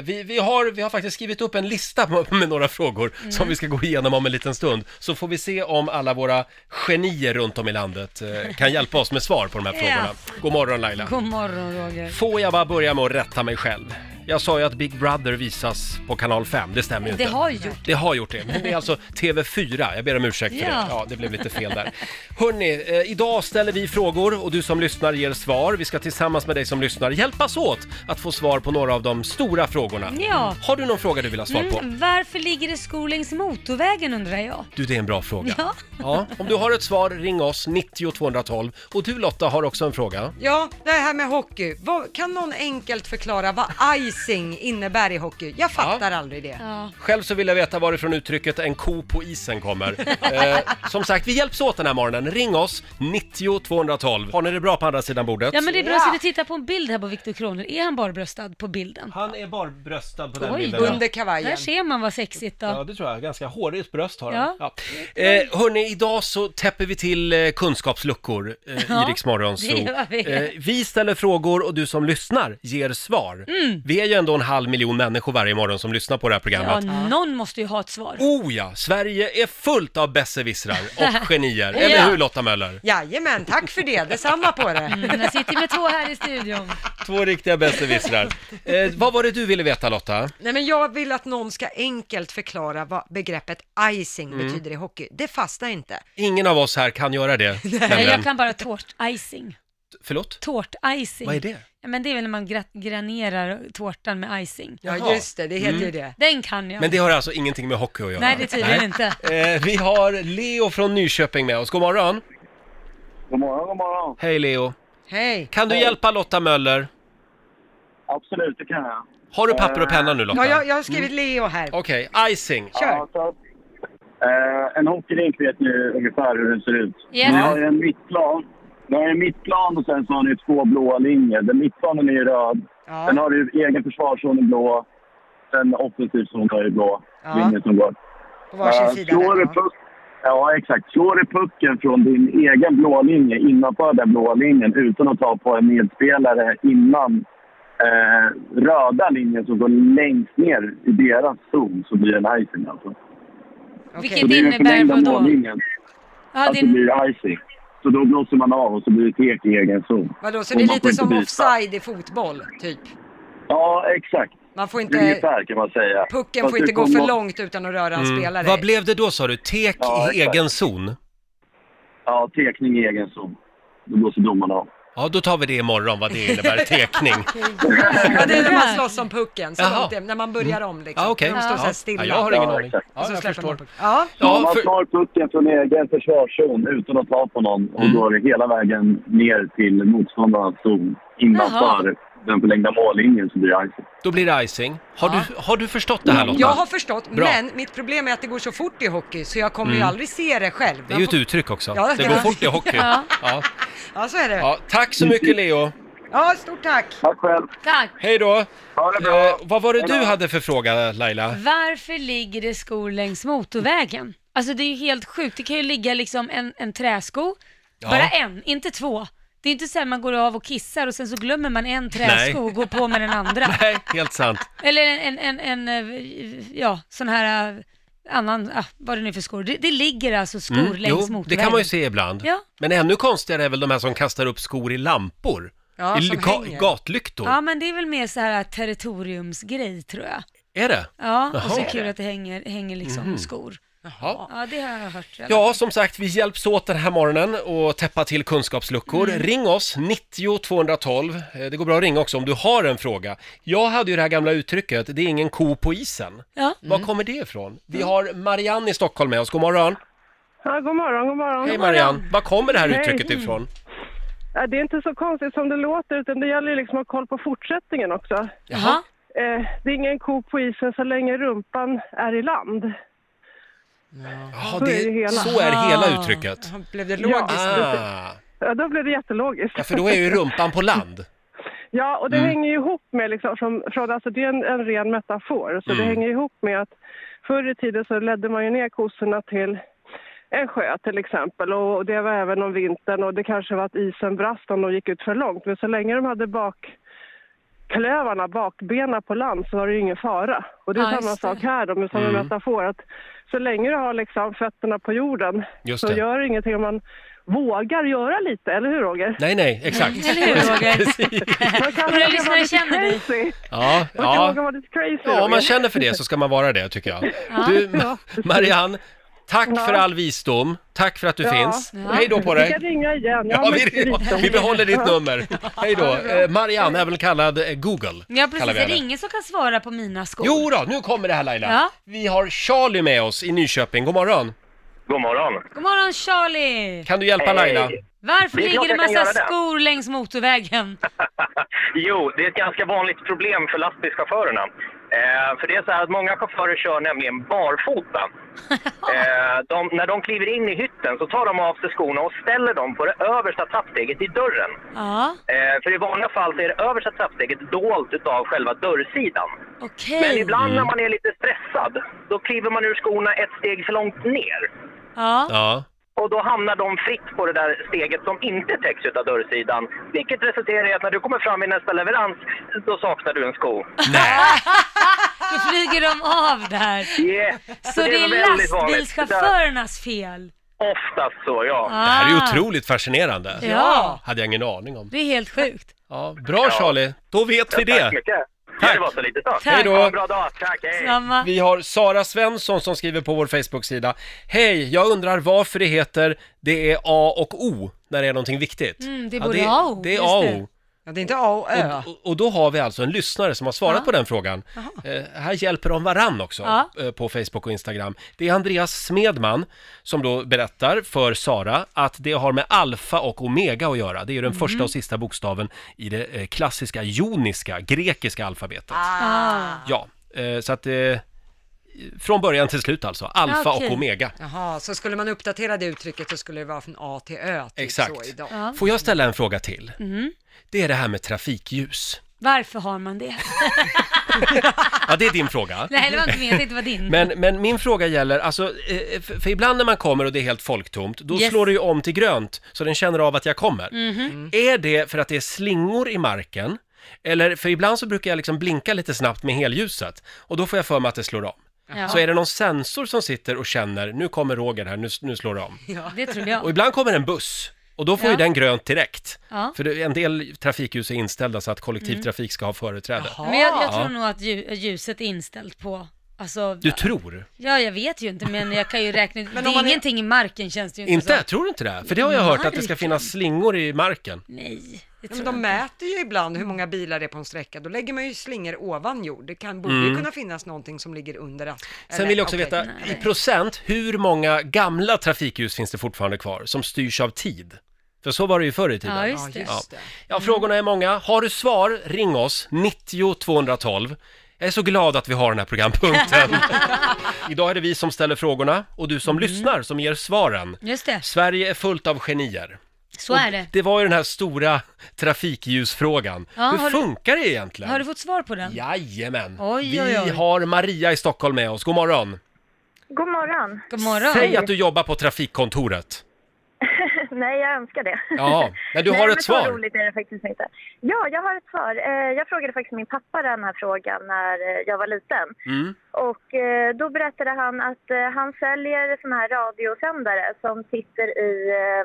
Speaker 1: vi, vi, har, vi har faktiskt skrivit upp en lista *laughs* med- med några frågor
Speaker 4: Mm.
Speaker 1: som vi ska gå igenom om en liten stund, så får vi se om alla våra genier runt om i landet eh, kan hjälpa oss med svar på de här frågorna. God morgon Laila!
Speaker 4: God morgon Roger.
Speaker 1: Får jag bara börja med att rätta mig själv? Jag sa ju att Big Brother visas på kanal 5, det stämmer ju inte.
Speaker 4: Det har ju gjort.
Speaker 1: Det har gjort det, men det är alltså TV4. Jag ber om ursäkt för det.
Speaker 4: Ja.
Speaker 1: Ja, det blev lite fel där. Hörni, eh, idag ställer vi frågor och du som lyssnar ger svar. Vi ska tillsammans med dig som lyssnar hjälpas åt att få svar på några av de stora frågorna.
Speaker 4: Ja.
Speaker 1: Har du någon fråga du vill ha svar på?
Speaker 4: Mm, varför ligger det skor längs motorvägen undrar jag?
Speaker 1: Du, det är en bra fråga.
Speaker 4: Ja.
Speaker 1: Ja, om du har ett svar, ring oss, 90 212. Och du Lotta har också en fråga.
Speaker 2: Ja, det här med hockey. Vad, kan någon enkelt förklara vad icing innebär i hockey? Jag fattar aldrig det.
Speaker 4: Ja.
Speaker 1: Själv så vill jag veta varifrån uttrycket en ko på isen kommer. Eh, som sagt, vi hjälps åt den här morgonen. Ring oss, 90 212. Har ni det bra på andra sidan bordet?
Speaker 4: Ja men det är bra, så du tittar på en bild här på Viktor Kronor. Är han barbröstad på bilden?
Speaker 1: Han är barbröstad på den
Speaker 4: Oj,
Speaker 1: bilden.
Speaker 4: Ja.
Speaker 2: Under kavajen.
Speaker 4: Där ser man vad sexigt då.
Speaker 1: Ja, det tror jag. Ganska hårigt bröst har han.
Speaker 4: Ja.
Speaker 1: Ja. Eh, hörni, idag så täpper vi till eh, kunskapsluckor eh,
Speaker 4: Ja,
Speaker 1: i Rix Morgon Zoo.
Speaker 4: det gör vi.
Speaker 1: Eh, vi ställer frågor och du som lyssnar ger svar.
Speaker 4: Mm.
Speaker 1: Vi är ju ändå en halv miljon människor varje morgon som lyssnar på det här
Speaker 4: Ja,
Speaker 1: programmet.
Speaker 4: någon måste ju ha ett svar.
Speaker 1: Oh ja, Sverige är fullt av besserwissrar och genier. Eller
Speaker 4: *laughs* Ja.
Speaker 1: hur Lotta Möller?
Speaker 2: Jajamän, tack för det. Detsamma på det.
Speaker 4: Mm, jag sitter med två här i studion.
Speaker 1: Två riktiga besserwissrar. Eh, vad var det du ville veta Lotta?
Speaker 2: Nej, men jag vill att någon ska enkelt förklara vad begreppet icing
Speaker 6: Mm.
Speaker 2: betyder i hockey. Det fastnar inte.
Speaker 1: Ingen av oss här kan göra det.
Speaker 4: Nej,
Speaker 1: nämligen.
Speaker 4: jag kan bara tårticing.
Speaker 1: Förlåt?
Speaker 4: Tårticing.
Speaker 1: Vad är det?
Speaker 4: Ja, men det är väl när man gra- granerar tårtan med icing.
Speaker 1: Jaha. Mm.
Speaker 2: Ja, just det. Det heter ju det.
Speaker 4: Den kan jag.
Speaker 1: Men det har alltså ingenting med hockey att göra?
Speaker 4: Nej, det är tydligen inte.
Speaker 1: Eh, vi har Leo från Nyköping med oss. God morgon!
Speaker 6: God morgon, god morgon.
Speaker 1: Hej Leo!
Speaker 2: Hej.
Speaker 1: Kan du hjälpa Lotta Möller?
Speaker 6: Absolut, det kan jag. Eh,
Speaker 1: Har du papper och penna nu
Speaker 2: Ja,
Speaker 1: Lotta? Mm.
Speaker 2: jag, jag har
Speaker 6: Mm.
Speaker 2: skrivit Leo här.
Speaker 1: Okej, icing.
Speaker 2: Kör.
Speaker 6: så, eh, en hockeyrink vet ni ungefär hur den ser ut.
Speaker 4: Yes.
Speaker 6: Ni har ju en mittplan. Ni har ju en mittplan och sen så har ni två blåa linjer. Den mittplanen är ju röd.
Speaker 2: Ja.
Speaker 6: Sen har du ju egen försvarszon i blå. Sen offensiv zon har ju blå
Speaker 2: Ja.
Speaker 6: linjer som går.
Speaker 2: På varsin
Speaker 6: Eh,
Speaker 2: sida.
Speaker 6: Slår du
Speaker 2: där, ja.
Speaker 6: puck, ja, exakt. Slår du pucken från din egen blå linje innanför den blå linjen utan att ta på en medspelare innan eh, röda linjen som går längst ner i deras zon så blir det en icing alltså.
Speaker 4: Vilket
Speaker 6: Så det är den
Speaker 4: innebär
Speaker 6: förlängda
Speaker 4: vadå?
Speaker 6: mållinjen,
Speaker 4: Ja,
Speaker 6: alltså
Speaker 4: din...
Speaker 6: blir det icing. Så då blåser man av och så blir det tek i egen zon.
Speaker 2: Vadå, så
Speaker 6: Och
Speaker 2: det
Speaker 6: man
Speaker 2: är
Speaker 6: får
Speaker 2: lite
Speaker 6: inte
Speaker 2: som
Speaker 6: byta.
Speaker 2: offside i fotboll, typ?
Speaker 6: Ja, exakt.
Speaker 2: Man får inte...
Speaker 6: Ungefär kan man säga.
Speaker 2: Pucken
Speaker 6: Fast
Speaker 2: får inte
Speaker 6: du
Speaker 2: gå
Speaker 6: kommer-
Speaker 2: för långt utan att röra en
Speaker 6: Mm.
Speaker 2: spelare.
Speaker 1: Mm. Vad blev det då sa du? Tek
Speaker 6: Ja,
Speaker 1: i
Speaker 6: exakt.
Speaker 1: egen zon?
Speaker 6: Ja, tekning i egen zon. Då blåser domarna av.
Speaker 1: Ja, då tar vi det imorgon vad det
Speaker 2: *laughs*
Speaker 1: innebär, tekning.
Speaker 2: ja, det är när man slåss om pucken, så
Speaker 1: Jaha. Mm.
Speaker 2: långt det, när man börjar om liksom.
Speaker 1: Ja, okej.
Speaker 2: När de står så
Speaker 1: Ja.
Speaker 2: här stilla.
Speaker 1: Ja, jag har ingen
Speaker 6: Ja,
Speaker 1: aning.
Speaker 6: exakt.
Speaker 1: Ja,
Speaker 2: Så
Speaker 1: jag
Speaker 2: släpper
Speaker 1: förstår.
Speaker 2: man pucken. Ja,
Speaker 6: Ja,
Speaker 1: Ja,
Speaker 6: man
Speaker 1: för...
Speaker 6: tar pucken från egen försvarszon utan att ta på någon och går hela vägen ner till motståndarens zon innanför den förlängda mållinjen så blir det icing.
Speaker 1: Då blir det icing. Har, du, har du förstått det här Lotta?
Speaker 2: jag har förstått,
Speaker 1: Bra. Mm.
Speaker 2: men mitt problem är att det går så fort i hockey så jag kommer ju aldrig se det själv.
Speaker 1: Det är ju ett uttryck också.
Speaker 2: Ja,
Speaker 1: det
Speaker 2: *laughs* ja.
Speaker 1: går fort i hockey.
Speaker 4: Ja.
Speaker 1: Ja.
Speaker 2: Ja, så är det.
Speaker 1: Ja, tack så mycket Leo.
Speaker 2: Ja, stort tack.
Speaker 6: Tack själv!
Speaker 4: Tack.
Speaker 1: Hej då.
Speaker 6: Ha det bra!
Speaker 1: Eh, vad var det du hade för fråga Laila?
Speaker 4: Varför ligger det skor längs motorvägen? Alltså det är ju helt sjukt. Det kan ju ligga liksom en, en träsko,
Speaker 1: Ja.
Speaker 4: bara en, inte två. Det är inte så här man går av och kissar och sen så glömmer man en träsko
Speaker 1: Nej.
Speaker 4: och går på med den andra.
Speaker 1: *laughs* Nej, helt sant.
Speaker 4: Eller en, en, en, en eh, ja, sån här eh, annan, ah, vad det nu är för skor. Det, det ligger alltså skor längs
Speaker 1: Mm, Jo,
Speaker 4: motorvägen.
Speaker 1: det kan man ju se ibland.
Speaker 4: Ja.
Speaker 1: Men ännu konstigare är väl de här som kastar upp skor i lampor.
Speaker 2: Ja,
Speaker 1: I
Speaker 2: som
Speaker 1: ga-
Speaker 2: hänger.
Speaker 1: gatlyktor.
Speaker 4: Ja, men det är väl mer så här territoriumsgrej tror jag.
Speaker 1: Är det?
Speaker 4: Ja, och så
Speaker 1: Jaha. Mhm.
Speaker 4: kul att det hänger, hänger liksom skor.
Speaker 1: Jaha.
Speaker 4: Ja, det har jag hört. i alla
Speaker 1: Ja, som sagt, vi hjälps åt den här morgonen och täppa till kunskapsluckor.
Speaker 4: Mm.
Speaker 1: Ring oss, 90 212. Eh, Det går bra att ringa också om du har en fråga. Jag hade ju det här gamla uttrycket, det är ingen ko på isen.
Speaker 4: Ja.
Speaker 1: Var kommer det ifrån? Vi har Marianne i Stockholm med oss, god morgon.
Speaker 8: Ja, god morgon, god morgon.
Speaker 1: Hej Marianne, var kommer det här
Speaker 8: Hej.
Speaker 1: uttrycket ifrån?
Speaker 8: Ja, det är inte så konstigt som det låter, utan det gäller ju liksom att ha koll på fortsättningen också.
Speaker 1: Jaha.
Speaker 8: Eh, det är ingen ko på isen så länge rumpan är i land.
Speaker 1: Jaha,
Speaker 8: Så är det
Speaker 1: det,
Speaker 8: hela.
Speaker 1: så är
Speaker 4: Ah.
Speaker 1: hela uttrycket.
Speaker 2: Blev det logiskt?
Speaker 1: Ah,
Speaker 8: Ja, då blir det jättelogiskt.
Speaker 1: ja, för då är ju rumpan på land.
Speaker 8: Ja, och det
Speaker 1: Mm.
Speaker 8: hänger ju ihop med, liksom, från, från, alltså, det är en, en ren metafor, så
Speaker 1: Mm.
Speaker 8: det hänger ihop med att förr i tiden så ledde man ju ner kossorna till en sjö till exempel och och det var även om vintern och det kanske var att isen brast om de gick ut för långt. Men så länge de hade bakklövarna, bakbena på land så var det ju ingen fara. Och det är
Speaker 4: Ja,
Speaker 8: samma
Speaker 4: just det.
Speaker 8: sak här då, men som
Speaker 1: Mm.
Speaker 8: en metafor att så länge du har liksom fötterna på jorden
Speaker 1: Just
Speaker 8: så
Speaker 1: det.
Speaker 8: gör det ingenting om man vågar göra lite, eller hur Roger?
Speaker 1: Nej, nej, exakt.
Speaker 4: Mm, Eller hur
Speaker 1: *laughs*
Speaker 4: Roger?
Speaker 8: Man kan
Speaker 4: Våra
Speaker 8: våga
Speaker 4: lyssnare
Speaker 8: vara lite
Speaker 4: känner dig.
Speaker 8: crazy.
Speaker 1: Ja,
Speaker 8: Man kan
Speaker 1: ja.
Speaker 8: våga vara lite crazy.
Speaker 1: Ja, om man
Speaker 8: Roger.
Speaker 1: känner för det så ska man vara det tycker jag. Du, Ma- Marianne, tack
Speaker 8: Ja.
Speaker 1: för all visdom. Tack för att du
Speaker 8: Ja.
Speaker 1: finns. Hej då på
Speaker 8: Vi kan
Speaker 1: dig!
Speaker 8: ringa igen. Jag
Speaker 1: Ja, vi,
Speaker 8: har mycket visdom.
Speaker 1: vi behåller ditt nummer. Hej då. Eh, Marianne, även kallad eh, Google. kallar
Speaker 4: Ja,
Speaker 1: vi
Speaker 4: precis. Är det
Speaker 1: henne.
Speaker 4: ingen som kan svara på mina skor?
Speaker 1: Jo då, nu kommer det här Laila.
Speaker 4: Ja.
Speaker 1: Vi har Charlie med oss i Nyköping. God morgon.
Speaker 9: God morgon.
Speaker 4: God morgon Charlie!
Speaker 1: Kan du hjälpa Laila?
Speaker 4: Varför
Speaker 9: Det är klart
Speaker 4: ligger det
Speaker 9: jag kan
Speaker 4: massa
Speaker 9: göra det.
Speaker 4: skor längs motorvägen?
Speaker 9: Jo, det är ett ganska vanligt problem för lastbilschaufförerna. Eh, för det är så här att många chaufförer kör nämligen
Speaker 4: *laughs*
Speaker 9: barfota. Eh, de, när de kliver in i hytten så tar de av sig skorna och ställer dem på det översta trappsteget i dörren.
Speaker 4: Ja,
Speaker 9: Eh, för i vanliga fall så är det översta trappsteget dolt utav själva dörrsidan. Men
Speaker 4: okej. Mm.
Speaker 9: ibland när man är lite stressad, då kliver man ur skorna ett steg för långt ner.
Speaker 4: Ja,
Speaker 1: Ja.
Speaker 9: Och då hamnar de fritt på det där steget som inte täcks utav dörrsidan. Vilket resulterar i att när du kommer fram vid nästa leverans, då saknar du en sko.
Speaker 1: Nej.
Speaker 4: då flyger de av där.
Speaker 9: Yeah.
Speaker 4: Så det är
Speaker 9: väldigt vanligt. Det
Speaker 4: lastbilschaufförernas fel?
Speaker 9: är Oftast så, ja.
Speaker 1: Det här är ju
Speaker 4: Ah,
Speaker 1: otroligt fascinerande.
Speaker 4: Ja,
Speaker 1: Hade jag ingen aning om.
Speaker 4: det är helt sjukt.
Speaker 1: Ja, bra Charlie, då vet vi
Speaker 9: Tack så
Speaker 1: det.
Speaker 9: mycket. Ja,
Speaker 1: Tack.
Speaker 9: Det var så lite så.
Speaker 4: Tack. Hej
Speaker 1: då.
Speaker 9: Ha en bra dag. Tack, hej.
Speaker 4: Samma.
Speaker 1: Vi har Sara Svensson som skriver på vår Facebook-sida. Hej, jag undrar varför det heter det är A och O när det är någonting viktigt.
Speaker 4: Mm, det är
Speaker 1: Ja,
Speaker 4: både A och O,
Speaker 1: Det är
Speaker 4: just
Speaker 1: A och
Speaker 4: det.
Speaker 1: O.
Speaker 2: Ja, det är inte A och Ö.
Speaker 1: Och, och- och då har vi alltså en lyssnare som har svarat
Speaker 4: Ja.
Speaker 1: på den frågan. Eh, här hjälper de varann också
Speaker 4: Ja.
Speaker 1: eh, på Facebook och Instagram. Det är Andreas Smedman som då berättar för Sara att det har med alfa och omega att göra. Det är ju den
Speaker 4: Mhm.
Speaker 1: första och sista bokstaven i det eh, klassiska joniska, grekiska alfabetet.
Speaker 4: Ah.
Speaker 1: Ja, eh, så att eh, från början till slut alltså. Alfa
Speaker 4: Okej.
Speaker 1: och omega.
Speaker 2: Jaha, så skulle man uppdatera det uttrycket så skulle det vara från A till Ö, typ
Speaker 1: Exakt.
Speaker 2: så idag.
Speaker 4: Ja.
Speaker 1: Får jag ställa en fråga till?
Speaker 4: Mhm.
Speaker 1: Det är det här med trafikljus.
Speaker 4: Varför har man det?
Speaker 1: Ja, det är din fråga.
Speaker 4: *laughs* Nej, det var inte min, jag tänkte det var din.
Speaker 1: Mm. Men, men min fråga gäller, alltså, eh, för, för ibland när man kommer och det är helt folktomt, då
Speaker 4: Yes. Mm.
Speaker 1: slår det ju om till grönt så den känner av att jag kommer.
Speaker 4: Mhm.
Speaker 1: Är det för att det är slingor i marken? Eller, för ibland så brukar jag liksom blinka lite snabbt med helljuset och då får jag för mig att det slår om.
Speaker 4: Ja,
Speaker 1: Så är det någon sensor som sitter och känner, nu kommer Roger här, nu, nu slår det om.
Speaker 4: det trodde
Speaker 1: Och
Speaker 4: jag.
Speaker 1: ibland kommer en buss och då får ju
Speaker 4: Ja.
Speaker 1: den grönt direkt.
Speaker 4: Ja.
Speaker 1: För det- en del trafikljus är inställda så att kollektivtrafik ska ha företräde.
Speaker 4: Men jag, jag
Speaker 1: Ja.
Speaker 4: tror nog att lju- ljuset är inställt på, alltså,
Speaker 1: Du tror?
Speaker 4: ja jag vet ju inte men jag kan ju räkna ut, det
Speaker 2: om man
Speaker 4: är
Speaker 2: är-
Speaker 4: ingenting i marken känns det ju inte,
Speaker 1: Inte?
Speaker 4: så.
Speaker 1: Tror du inte det? För det har jag
Speaker 4: Mm.
Speaker 1: hört, att det ska finnas slingor i marken.
Speaker 4: Nej, det Mm.
Speaker 2: Ja,
Speaker 4: tror
Speaker 2: men
Speaker 4: jag
Speaker 2: de
Speaker 4: inte.
Speaker 2: mäter ju ibland hur många bilar det är på en sträcka, då lägger man ju slingor ovan jord. Det kan, borde ju kunna finnas någonting som ligger under att...
Speaker 1: Mm. Sen vill jag också veta, i procent, hur många gamla trafikljus finns det fortfarande kvar som styrs av tid? För så var det ju förr i tiden.
Speaker 4: Ja,
Speaker 2: Ja,
Speaker 4: just det.
Speaker 2: just det.
Speaker 1: Ja, frågorna är många. Har du svar, ring oss, 90 212. Jag är så glad att vi har den här programpunkten.
Speaker 4: *laughs*
Speaker 1: Idag är det vi som ställer frågorna och du som lyssnar som ger svaren.
Speaker 4: Mm. Just det,
Speaker 1: Sverige är fullt av genier.
Speaker 4: så är det.
Speaker 1: Det var ju den här stora trafikljusfrågan.
Speaker 4: Ja,
Speaker 1: Hur
Speaker 4: har du-
Speaker 1: funkar det egentligen?
Speaker 4: Har du fått svar på den?
Speaker 1: Jajamän!
Speaker 4: Oj,
Speaker 1: Vi
Speaker 4: oj, oj.
Speaker 1: har Maria i Stockholm med oss. God morgon!
Speaker 7: God morgon.
Speaker 4: God morgon.
Speaker 1: Säg att du jobbar på trafikkontoret.
Speaker 7: *laughs* Nej, jag önskar det.
Speaker 1: Ja, men du har ett
Speaker 7: Så
Speaker 1: svar.
Speaker 7: roligt är det faktiskt inte. Ja, jag har ett svar. Eh, Jag frågade faktiskt min pappa den här frågan när eh, jag var liten.
Speaker 1: Mm.
Speaker 7: Och eh, då berättade han att eh, han säljer såna här radiosändare som sitter i eh,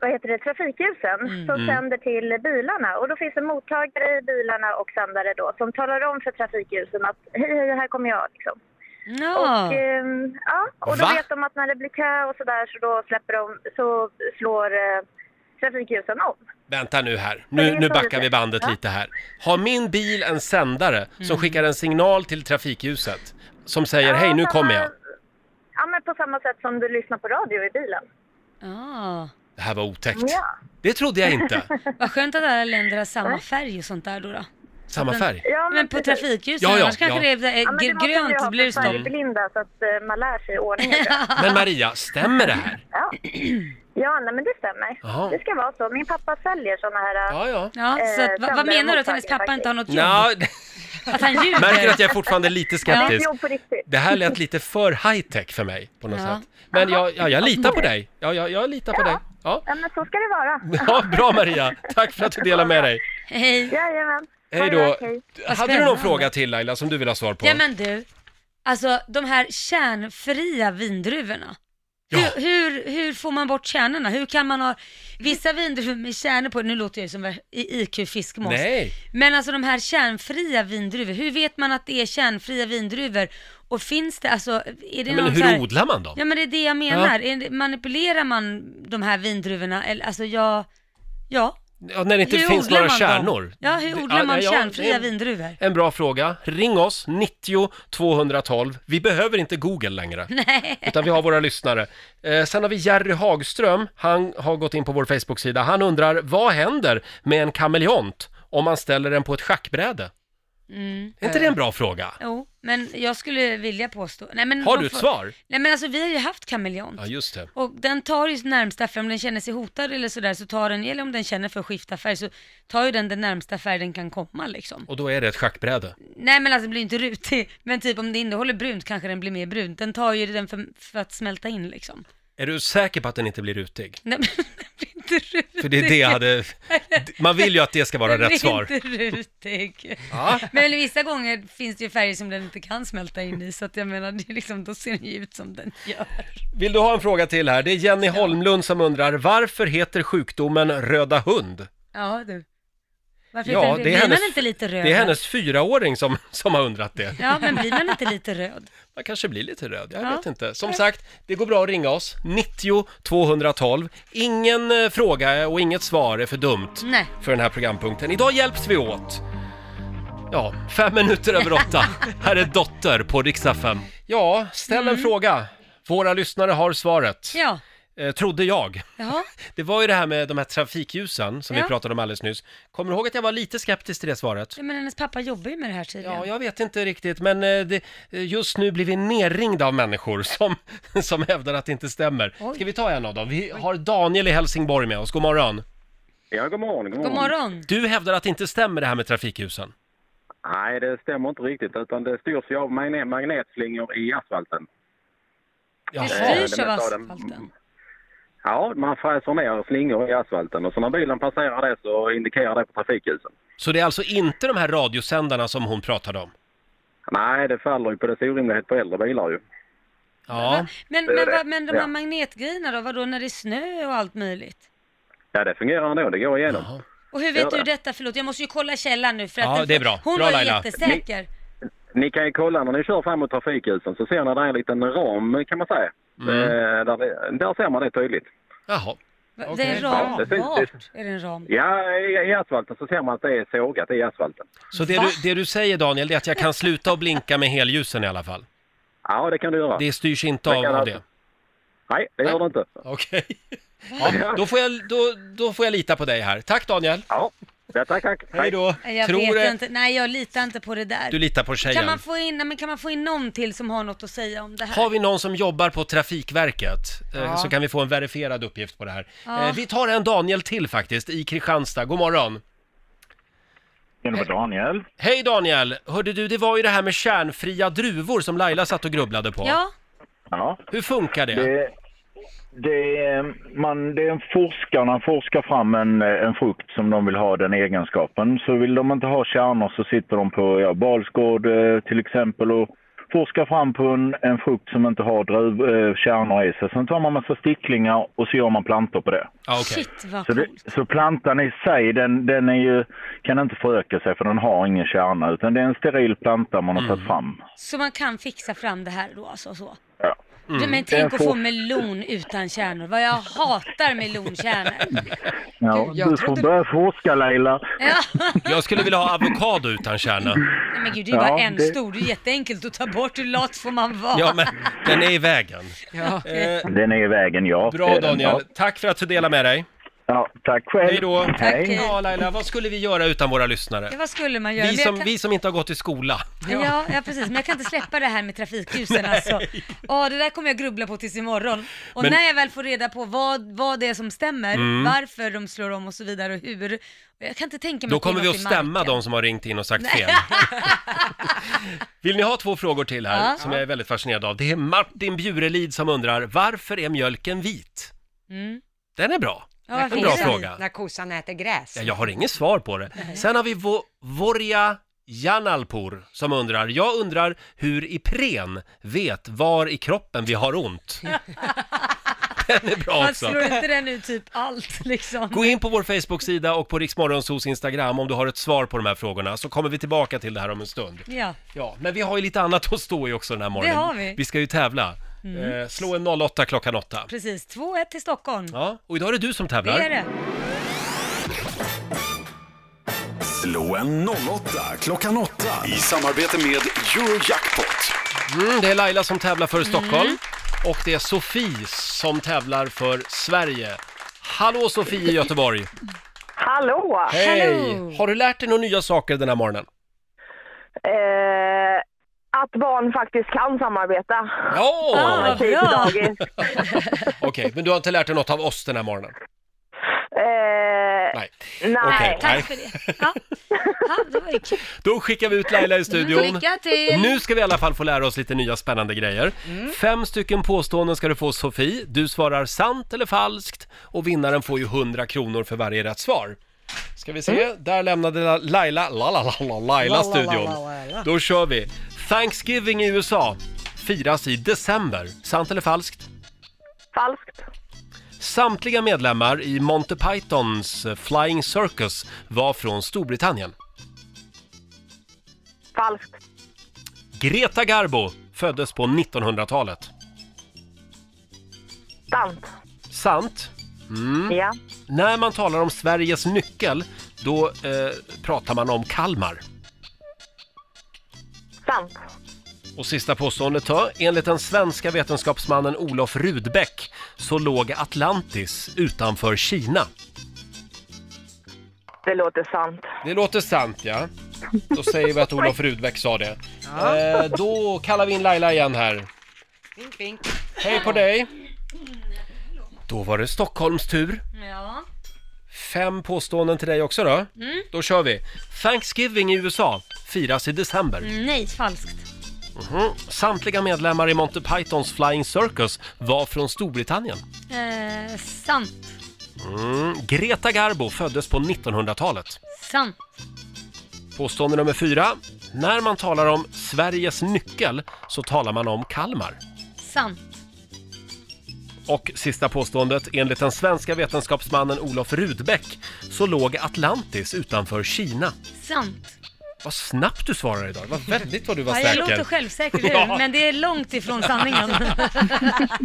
Speaker 7: vad heter det, trafikljusen
Speaker 4: Mm.
Speaker 1: Mm.
Speaker 7: som sänder till bilarna. Och då finns det mottagare i bilarna och sändare då som talar om för trafikljusen att hej, hej, här kommer jag liksom.
Speaker 4: Ja.
Speaker 7: Och, ehm, ja, och då
Speaker 1: Va?
Speaker 7: vet de att när det blir kö och sådär så då släpper de, så slår eh, trafikljusen om.
Speaker 1: Vänta nu här, nu, nu backar vi bandet lite här. Har min bil en sändare
Speaker 4: Mm.
Speaker 1: som skickar en signal till trafikljuset? Som säger hej, nu
Speaker 7: samma-
Speaker 1: kommer jag.
Speaker 7: Ja, men på samma sätt som du lyssnar på radio i bilen.
Speaker 4: Ah.
Speaker 1: Det här var otäckt.
Speaker 7: Ja.
Speaker 1: Det trodde jag inte.
Speaker 4: Vad skönt att alla länder har samma färg och sånt där då. då.
Speaker 1: Samma färg.
Speaker 7: Ja,
Speaker 4: Men på
Speaker 7: precis.
Speaker 4: trafikljusen,
Speaker 1: Ja, ja,
Speaker 4: annars kanske
Speaker 1: ja.
Speaker 4: det är
Speaker 7: Ja,
Speaker 4: eh,
Speaker 7: men det
Speaker 4: gr-
Speaker 7: måste man ju
Speaker 4: grönt,
Speaker 7: ha
Speaker 4: så
Speaker 7: för
Speaker 4: blir det stopp.
Speaker 7: färgblinda så att eh, man lär sig ordningen.
Speaker 4: *laughs*
Speaker 1: Men Maria, stämmer det här?
Speaker 7: ja. ja, nej men det stämmer.
Speaker 1: Jaha.
Speaker 7: Det ska vara så. Min pappa säljer sådana här... eh,
Speaker 1: Ja, ja.
Speaker 4: Ja, så
Speaker 7: Eh,
Speaker 4: att, vad, vad
Speaker 7: samlare
Speaker 4: menar du? Att hennes
Speaker 7: mottagare
Speaker 4: pappa inte har något jobb?
Speaker 1: Nja,
Speaker 4: Att han ljuger?
Speaker 1: märker att jag är fortfarande
Speaker 7: *laughs*
Speaker 1: lite
Speaker 7: Det är ett
Speaker 1: skeptisk.
Speaker 7: jobb på riktigt.
Speaker 1: Det här lät lite för high-tech för mig på något
Speaker 4: Ja.
Speaker 1: sätt. Men jag, ja, jag litar på dig. Ja, jag, jag litar på dig. Ja.
Speaker 7: Ja, men så ska det vara.
Speaker 1: *laughs* Ja, bra Maria! Tack för att du delar med dig.
Speaker 4: Hej.
Speaker 7: Jajamän.
Speaker 1: Hej
Speaker 7: Ha det
Speaker 1: då!
Speaker 7: bra, hej.
Speaker 1: Hade du någon
Speaker 4: spännande.
Speaker 1: fråga till Laila som du vill ha svar på?
Speaker 4: Ja men du, alltså de här kärnfria vindruvorna.
Speaker 1: Ja.
Speaker 4: Hur, hur, hur får man bort kärnorna? Hur kan man ha vissa vindruvor med kärnor på? Nu låter jag ju som vär- i- IQ-fiskmås.
Speaker 1: Nej!
Speaker 4: Men alltså de här kärnfria vindruvor, hur vet man att det är kärnfria vindruvor? Och finns det, alltså, är det
Speaker 1: Ja,
Speaker 4: någon
Speaker 1: Men
Speaker 4: så
Speaker 1: hur
Speaker 4: här...
Speaker 1: odlar man dem?
Speaker 4: Ja men det är det jag menar. Är det- Manipulerar man de här vindruvorna? Eller, alltså jag, ja.
Speaker 1: Ja, när det inte
Speaker 4: hur
Speaker 1: finns
Speaker 4: odlar
Speaker 1: några
Speaker 4: man
Speaker 1: kärnor?
Speaker 4: Dem? Ja, hur
Speaker 1: Det-
Speaker 4: odlar man
Speaker 1: ja, ja, det
Speaker 4: kärnfria
Speaker 1: är en-
Speaker 4: vindruvor? *laughs*
Speaker 1: En bra fråga. Ring oss, 90 212. Vi behöver inte Google längre.
Speaker 4: *laughs* Nej.
Speaker 1: Utan vi har våra lyssnare. Eh, sen har vi Jerry Hagström. Han har gått in på vår Facebook-sida. Han undrar, vad händer med en kameleont om man ställer den på ett schackbräde?
Speaker 4: Mm.
Speaker 1: Är inte det en bra fråga?
Speaker 4: Jo, men jag skulle vilja påstå... Nej, men
Speaker 1: Har
Speaker 4: de
Speaker 1: du ett
Speaker 4: får-
Speaker 1: svar?
Speaker 4: Nej men alltså vi har ju haft kameleont.
Speaker 1: Ja, just det.
Speaker 4: Och den tar ju närmsta färg, om den känner sig hotad eller sådär så tar den, eller om den känner för att skifta färg så tar ju den den närmsta färg den kan komma liksom.
Speaker 1: Och då är det ett schackbräde.
Speaker 4: Nej men alltså den blir ju inte rutig, men typ om det innehåller brunt kanske den blir mer brunt. Den tar ju den för, för att smälta in liksom.
Speaker 1: Är du säker på att den inte blir rutig?
Speaker 4: *laughs* Den, den blir inte rutig.
Speaker 1: För det är det jag hade... Man vill ju att det ska vara
Speaker 4: *laughs* Den
Speaker 1: rätt
Speaker 4: blir
Speaker 1: svar.
Speaker 4: inte rutig.
Speaker 1: Ja.
Speaker 4: Men vissa gånger finns det ju färger som den inte kan smälta in i, så att jag menar, det är liksom, då ser den ju ut som den gör.
Speaker 1: Vill du ha en fråga till här? Det är Jenny Holmlund som undrar varför heter sjukdomen röda hund?
Speaker 4: Ja du. Varför
Speaker 1: Ja,
Speaker 4: ja,
Speaker 1: det är
Speaker 4: blir
Speaker 1: hennes-
Speaker 4: man inte lite röd?
Speaker 1: Det är hennes fyraåring som, som har undrat det.
Speaker 4: Ja, men blir man inte lite röd?
Speaker 1: Man kanske blir lite röd, jag
Speaker 4: Ja.
Speaker 1: vet inte. Som sagt, det går bra att ringa oss. 90 212. Ingen eh, fråga och inget svar är för dumt
Speaker 4: Nej.
Speaker 1: för den här programpunkten. Idag hjälps vi åt. Ja, fem minuter över
Speaker 4: *laughs*
Speaker 1: åtta. här är Dotter på riksdag 5. Ja, ställ
Speaker 4: Mm.
Speaker 1: en fråga. Våra lyssnare har svaret,
Speaker 4: Ja,
Speaker 1: eh, trodde jag.
Speaker 4: ja.
Speaker 1: Det var ju det här med de här trafikljusen som vi
Speaker 4: Ja.
Speaker 1: pratade om alldeles nyss. Kommer du ihåg att jag var lite skeptisk till det svaret?
Speaker 4: Ja, men hennes pappa jobbar ju med det här tydligen.
Speaker 1: Ja, jag vet inte riktigt, men eh, det, eh, just nu blir vi nerringda av människor *laughs* som, som hävdar att det inte stämmer.
Speaker 4: Oj.
Speaker 1: Ska vi ta en av dem? Vi har Daniel i Helsingborg med oss, god morgon.
Speaker 9: Ja, god morgon,
Speaker 4: God morgon.
Speaker 1: Du hävdar att det inte stämmer det här med trafikljusen.
Speaker 9: Nej, det stämmer inte riktigt utan det styrs ju av magne- magnetslingor i asfalten.
Speaker 4: Det
Speaker 1: Jaha.
Speaker 9: är
Speaker 4: styrs av
Speaker 9: det mesta av dem.
Speaker 4: asfalten.
Speaker 9: Ja, man fräser ner slingor i asfalten och så när bilen passerar det så indikerar det på trafikljusen.
Speaker 1: Så det är alltså inte de här radiosändarna som hon pratade om?
Speaker 9: Nej, det faller ju på dess orimlighet på äldre bilar ju.
Speaker 1: Ja,
Speaker 4: Men,
Speaker 9: är
Speaker 4: men,
Speaker 9: det.
Speaker 4: vad- men de här
Speaker 9: Ja.
Speaker 4: magnetgrejerna då, vadå när det är snö och allt möjligt?
Speaker 9: Ja, det fungerar ändå. Det går igenom.
Speaker 1: Jaha.
Speaker 4: Och hur
Speaker 9: Gör
Speaker 4: vet du
Speaker 9: det.
Speaker 4: detta? Förlåt, jag måste ju kolla källan nu för att
Speaker 1: Ja,
Speaker 4: den-
Speaker 1: det är bra.
Speaker 4: hon
Speaker 1: Bra,
Speaker 4: var ju
Speaker 1: Laila.
Speaker 4: jättesäker.
Speaker 9: Ni kan ju kolla när ni kör fram mot trafikljusen så ser ni där en liten ram kan man säga.
Speaker 1: Mm.
Speaker 9: Eh, där, det- där ser man det tydligt.
Speaker 1: jaha.
Speaker 4: Va- Det
Speaker 1: Okej.
Speaker 4: är en ram.
Speaker 9: Ja, det syns-
Speaker 4: Vart är det en ram?
Speaker 9: Ja, i, i asfalten så ser man att det är sågat i asfalten.
Speaker 1: Så det du, det du säger Daniel, det är att jag kan sluta att blinka med helljusen i alla fall?
Speaker 9: Ja, det kan du göra.
Speaker 1: Det styrs inte
Speaker 9: Men
Speaker 1: av,
Speaker 9: kan
Speaker 1: av
Speaker 9: alltså-
Speaker 1: det?
Speaker 9: Nej, det gör du inte.
Speaker 1: Okej. Ja, då, får jag, då, då får jag lita på dig här. Tack Daniel!
Speaker 9: Ja, ja tack, tack.
Speaker 1: Hej då!
Speaker 4: Nej, Jag
Speaker 1: Tror
Speaker 4: vet
Speaker 1: det-
Speaker 4: inte. Nej, jag litar inte på det där.
Speaker 1: Du litar på tjejen?
Speaker 4: Kan man, få in, nej, men kan man få in någon till som har något att säga om det här?
Speaker 1: Har vi någon som jobbar på Trafikverket eh,
Speaker 2: Ja.
Speaker 1: så kan vi få en verifierad uppgift på det här.
Speaker 4: Ja.
Speaker 1: Eh, vi tar en Daniel till faktiskt i Kristianstad. God morgon.
Speaker 9: Det var Daniel.
Speaker 1: Hej Daniel! Hörde du, det var ju det här med kärnfria druvor som Laila satt och grubblade på.
Speaker 4: Ja,
Speaker 9: Ja,
Speaker 1: Hur funkar det?
Speaker 9: det, det, är- man, det är en forskarna forskar fram en, en frukt som de vill ha den egenskapen. Så vill de inte ha kärnor så sitter de på ja, Balsgård eh, till exempel och forskar fram på en, en frukt som inte har druv, eh, kärnor i sig. Sen tar man massa sticklingar och så gör man plantor på det.
Speaker 1: Ja, okej.
Speaker 4: shit vad
Speaker 9: Så, det,
Speaker 4: coolt.
Speaker 9: så plantan i sig, den, den är ju, kan inte föröka sig för den har ingen kärna utan det är en steril planta man har
Speaker 1: Mm.
Speaker 9: tagit fram.
Speaker 4: Så man kan fixa fram det här då alltså så?
Speaker 9: Ja.
Speaker 4: Du, Men
Speaker 9: Mm. Jag
Speaker 4: tänk att få
Speaker 9: får-
Speaker 4: melon utan kärnor. Vad jag
Speaker 9: *laughs*
Speaker 4: hatar melonkärnor.
Speaker 9: Ja,
Speaker 2: jag
Speaker 9: du
Speaker 2: trodde-
Speaker 9: får börja forska Leila.
Speaker 4: Ja.
Speaker 1: Jag skulle vilja ha avokado utan kärna.
Speaker 9: *laughs*
Speaker 4: Nej, men gud, det är
Speaker 9: Ja,
Speaker 4: bara en
Speaker 9: det-
Speaker 4: stor. Det är jätteenkelt att ta bort. Hur lat får man vara?
Speaker 1: Ja, men den är i vägen.
Speaker 2: Ja.
Speaker 1: Eh,
Speaker 9: Den är i vägen, ja. det
Speaker 1: bra
Speaker 9: är den,
Speaker 1: Daniel, tack för att du delade med dig.
Speaker 9: Ja. Ja, tack själv.
Speaker 1: Hej då!
Speaker 4: Hej.
Speaker 1: Ja, Laila, vad skulle vi göra utan våra lyssnare?
Speaker 4: Ja, vad skulle man göra?
Speaker 1: Vi
Speaker 4: Men jag
Speaker 1: som,
Speaker 4: kan...
Speaker 1: vi som inte har gått i skola.
Speaker 4: ja. ja, precis. Men jag kan inte släppa det här med trafikljusen alltså. Ja, det där kommer jag grubbla på tills imorgon. Och
Speaker 1: Men- Mm.
Speaker 4: när jag väl får reda på vad, vad det är som stämmer, varför de slår om och så vidare och hur. Jag kan inte tänka mig
Speaker 1: Då
Speaker 4: att det är
Speaker 1: kommer vi
Speaker 4: något
Speaker 1: att
Speaker 4: i
Speaker 1: stämma
Speaker 4: marken.
Speaker 1: de som har ringt in och sagt fel.
Speaker 4: *laughs*
Speaker 1: Vill ni ha två frågor till här
Speaker 4: Ja.
Speaker 1: som jag är väldigt fascinerad av? Det är Martin Bjurelid som undrar varför är mjölken vit?
Speaker 4: Mm.
Speaker 1: Den är bra.
Speaker 4: Ja, varför
Speaker 1: En bra
Speaker 4: är det?
Speaker 1: fråga.
Speaker 2: När kossan äter gräs.
Speaker 1: Ja, Jag har inget svar på det. Sen har vi Vo- Vorja Janalpur som undrar, jag undrar hur Ipren vet var i kroppen vi har
Speaker 4: *laughs*
Speaker 1: ont. Den är bra
Speaker 4: Man
Speaker 1: också.
Speaker 4: slår inte den ut typ allt liksom.
Speaker 1: Gå in på vår Facebook-sida och på Riksmorgonsos Instagram om du har ett svar på de här frågorna så kommer vi tillbaka till det här om en stund.
Speaker 4: Ja,
Speaker 1: Ja, men vi har ju lite annat att stå i också den här morgonen.
Speaker 4: har vi. Mm.
Speaker 1: Vi ska ju tävla. Eh, slå en 08 klockan 8.
Speaker 4: precis. 2-1 till Stockholm.
Speaker 1: Ja, och idag är det du som
Speaker 4: Det
Speaker 1: tävlar.
Speaker 4: är det.
Speaker 3: Slå en 08 klockan 8 i samarbete med Eurojackpot.
Speaker 1: Mm, det är Laila som tävlar för Stockholm och det är Sofie som tävlar för Sverige. Hallå Sofie i Göteborg!
Speaker 8: Hallå!
Speaker 1: Hej!
Speaker 4: Hallå.
Speaker 1: Har du lärt dig några nya saker den här
Speaker 4: *laughs*
Speaker 1: morgonen?
Speaker 8: Eh, att barn faktiskt kan samarbeta.
Speaker 1: Ja!
Speaker 4: Ah, vad
Speaker 8: Tid till
Speaker 4: bra!
Speaker 8: dagis.
Speaker 1: Okej, men du har inte lärt dig något av oss den här morgonen?
Speaker 8: Eh,
Speaker 1: Nej.
Speaker 8: nej.
Speaker 1: Okej, nej.
Speaker 4: Tack för det. Ja, ja det var ju kul.
Speaker 1: Då skickar vi ut Laila i studion.
Speaker 4: Mm, Lycka till! Mm.
Speaker 1: Nu ska vi i alla fall få lära oss lite nya spännande grejer. Fem stycken påståenden ska du få Sofie. Du svarar sant eller falskt och vinnaren får ju 100 kronor för varje rätt svar. Ska vi se, där lämnade La- Laila, la, la, la, Mm. la, Laila studion. Då kör vi. Thanksgiving i USA firas i december. Sant eller falskt?
Speaker 8: Falskt.
Speaker 1: Samtliga medlemmar i Monty Pythons eh, Flying Circus var från Storbritannien.
Speaker 7: Falskt.
Speaker 1: Greta Garbo föddes på 1900-talet.
Speaker 7: Sant.
Speaker 1: Sant. Mm.
Speaker 7: Ja.
Speaker 1: När man talar om Sveriges nyckel, då eh, pratar man om Kalmar.
Speaker 7: Sant.
Speaker 1: Och sista påståendet då. Enligt den svenska vetenskapsmannen Olof Rudbeck så låg Atlantis utanför Kina.
Speaker 7: Det låter sant.
Speaker 1: Det låter sant ja. Då säger vi att Olof Rudbeck sa det. Eh, då kallar vi in Laila igen här.
Speaker 2: Vink, vink.
Speaker 1: Hej på dig! Då var det Stockholms tur.
Speaker 4: Ja.
Speaker 1: Fem påståenden till dig också då.
Speaker 4: Mm.
Speaker 1: Då kör vi. Thanksgiving i USA firas i december.
Speaker 4: Mm, Nej, falskt.
Speaker 1: Mhm. Samtliga medlemmar i Monty Pythons Flying Circus var från Storbritannien.
Speaker 4: Eh, sant.
Speaker 1: Mm. Greta Garbo föddes på 1900-talet.
Speaker 4: Sant.
Speaker 1: Påstående nummer fyra. När man talar om Sveriges nyckel så talar man om Kalmar.
Speaker 4: Sant.
Speaker 1: Och sista påståendet. Enligt den svenska vetenskapsmannen Olof Rudbeck så låg Atlantis utanför Kina.
Speaker 4: Sant.
Speaker 1: Vad snabbt du svarar idag. Vad väldigt vad du var
Speaker 4: Ja, jag låter
Speaker 1: säker.
Speaker 4: självsäker nu,
Speaker 1: *laughs* Ja.
Speaker 4: men det är långt ifrån sanningen.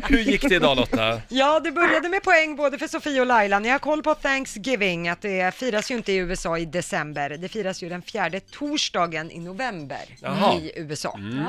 Speaker 1: Hur gick det idag Lotta?
Speaker 2: *laughs* Ja, det började med poäng både för Sofie och Laila. Ni har koll på Thanksgiving, att det firas ju inte i USA i december. Det firas ju den fjärde torsdagen i november
Speaker 1: Jaha.
Speaker 2: i USA. Mm.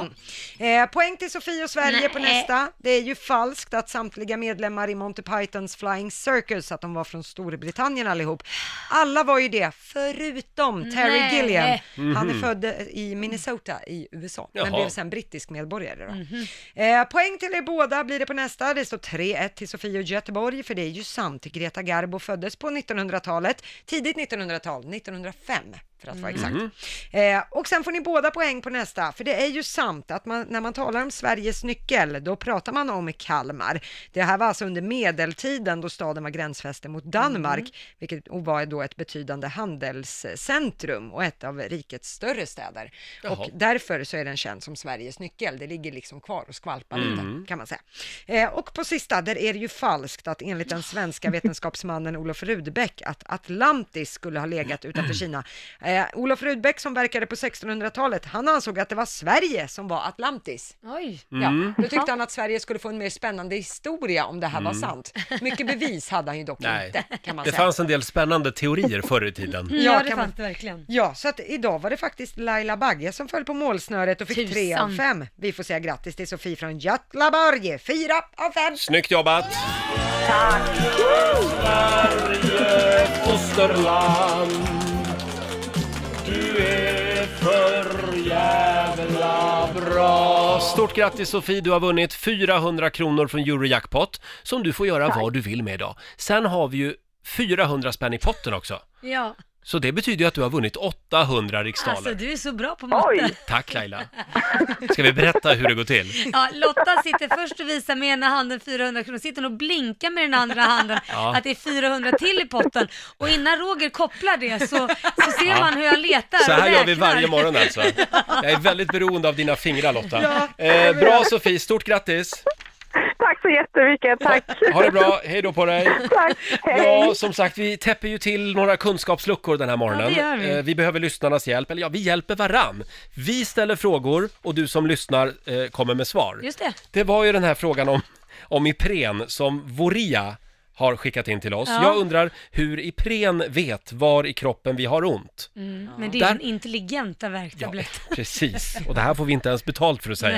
Speaker 2: Eh, poäng till Sofie och Sverige på
Speaker 4: Nej. eh.
Speaker 2: nästa. Det är ju falskt att samtliga medlemmar i Monty Pythons Flying Circus, att de var från Storbritannien allihop. Alla var ju det, förutom Terry
Speaker 4: Nej.
Speaker 2: Gilliam. Han är född i Minnesota i USA, men
Speaker 1: Jaha.
Speaker 2: blev sen brittisk medborgare. Då.
Speaker 4: Mhm.
Speaker 2: Eh, poäng till er båda blir det på nästa. Det står 3-1 till Sofie och Göteborg, för det är ju sant. Greta Garbo föddes på 1900-talet, tidigt 1900-tal, 1905 för att vara
Speaker 4: Mm.
Speaker 2: exakt.
Speaker 1: Mm.
Speaker 2: Eh, och sen får ni båda poäng på nästa, för det är ju sant att man, när man talar om Sveriges nyckel, då pratar man om Kalmar. Det här var alltså under medeltiden då staden var gränsfäste mot Danmark, vilket och var då ett betydande handelscentrum och ett av rikets större städer.
Speaker 1: Jaha.
Speaker 2: Och därför så är den känd som Sveriges nyckel. Det ligger liksom kvar och skvalpar lite kan man säga. Eh, och på sista, där är det ju falskt att enligt den svenska vetenskapsmannen Olof Rudbeck att Atlantis skulle ha legat utanför Kina. Eh, Olof Rudbeck som verkade på 1600-talet, han ansåg att det var Sverige som var Atlantis.
Speaker 4: Oj.
Speaker 2: Ja, då tyckte han att Sverige skulle få en mer spännande historia om det här var sant. Mycket bevis hade han ju dock
Speaker 1: Nej.
Speaker 2: inte kan man
Speaker 1: Det
Speaker 2: säga.
Speaker 1: fanns en del spännande teorier förr i tiden.
Speaker 4: Ja, det
Speaker 2: kan man-
Speaker 4: fanns det verkligen.
Speaker 2: Ja, så att idag var det faktiskt Laila Bagge som föll på målsnöret och fick
Speaker 4: Tusan.
Speaker 2: tre av fem. Vi får säga grattis till Sofie från Göteborg, fyra av fem.
Speaker 1: Snyggt jobbat! Stort grattis Sofie, du har vunnit 400 kronor från Eurojackpot som du får göra vad du vill med idag. Sen har vi ju 400 spänn i potten också.
Speaker 4: Ja.
Speaker 1: Så det betyder ju att du har vunnit 800 riksdaler.
Speaker 4: Alltså du är så bra på matte.
Speaker 1: Tack Laila! Ska vi berätta hur det går till?
Speaker 4: Ja, Lotta sitter först och visar med ena handen 400 kronor, sitter hon och blinkar med den andra handen
Speaker 1: *laughs* Ja.
Speaker 4: att det är 400 till i potten. Och innan Roger kopplar det så, så ser man hur jag letar
Speaker 1: Så här
Speaker 4: och
Speaker 1: gör vi
Speaker 4: räknar.
Speaker 1: varje morgon alltså. Jag är väldigt beroende av dina fingrar Lotta. Eh, bra Sofie, stort grattis!
Speaker 7: Tack så jättemycket. Tack.
Speaker 1: Ha det bra, hej då på dig!
Speaker 7: Tack. Hej.
Speaker 1: Ja, som sagt, vi täpper ju till några kunskapsluckor den här morgonen.
Speaker 4: det gör vi.
Speaker 1: Eh, vi behöver lyssnarnas hjälp, eller ja, vi hjälper varann. Vi ställer frågor och du som lyssnar eh, kommer med svar.
Speaker 4: Just det.
Speaker 1: Det var ju den här frågan om, om Ipren som Voria har skickat in till oss.
Speaker 4: Ja.
Speaker 1: Jag undrar hur Ipren vet var i kroppen vi har ont.
Speaker 4: Mm. Men det är
Speaker 1: Där-
Speaker 4: en intelligenta värktablett.
Speaker 1: precis. Och det här får vi inte ens betalt för att säga.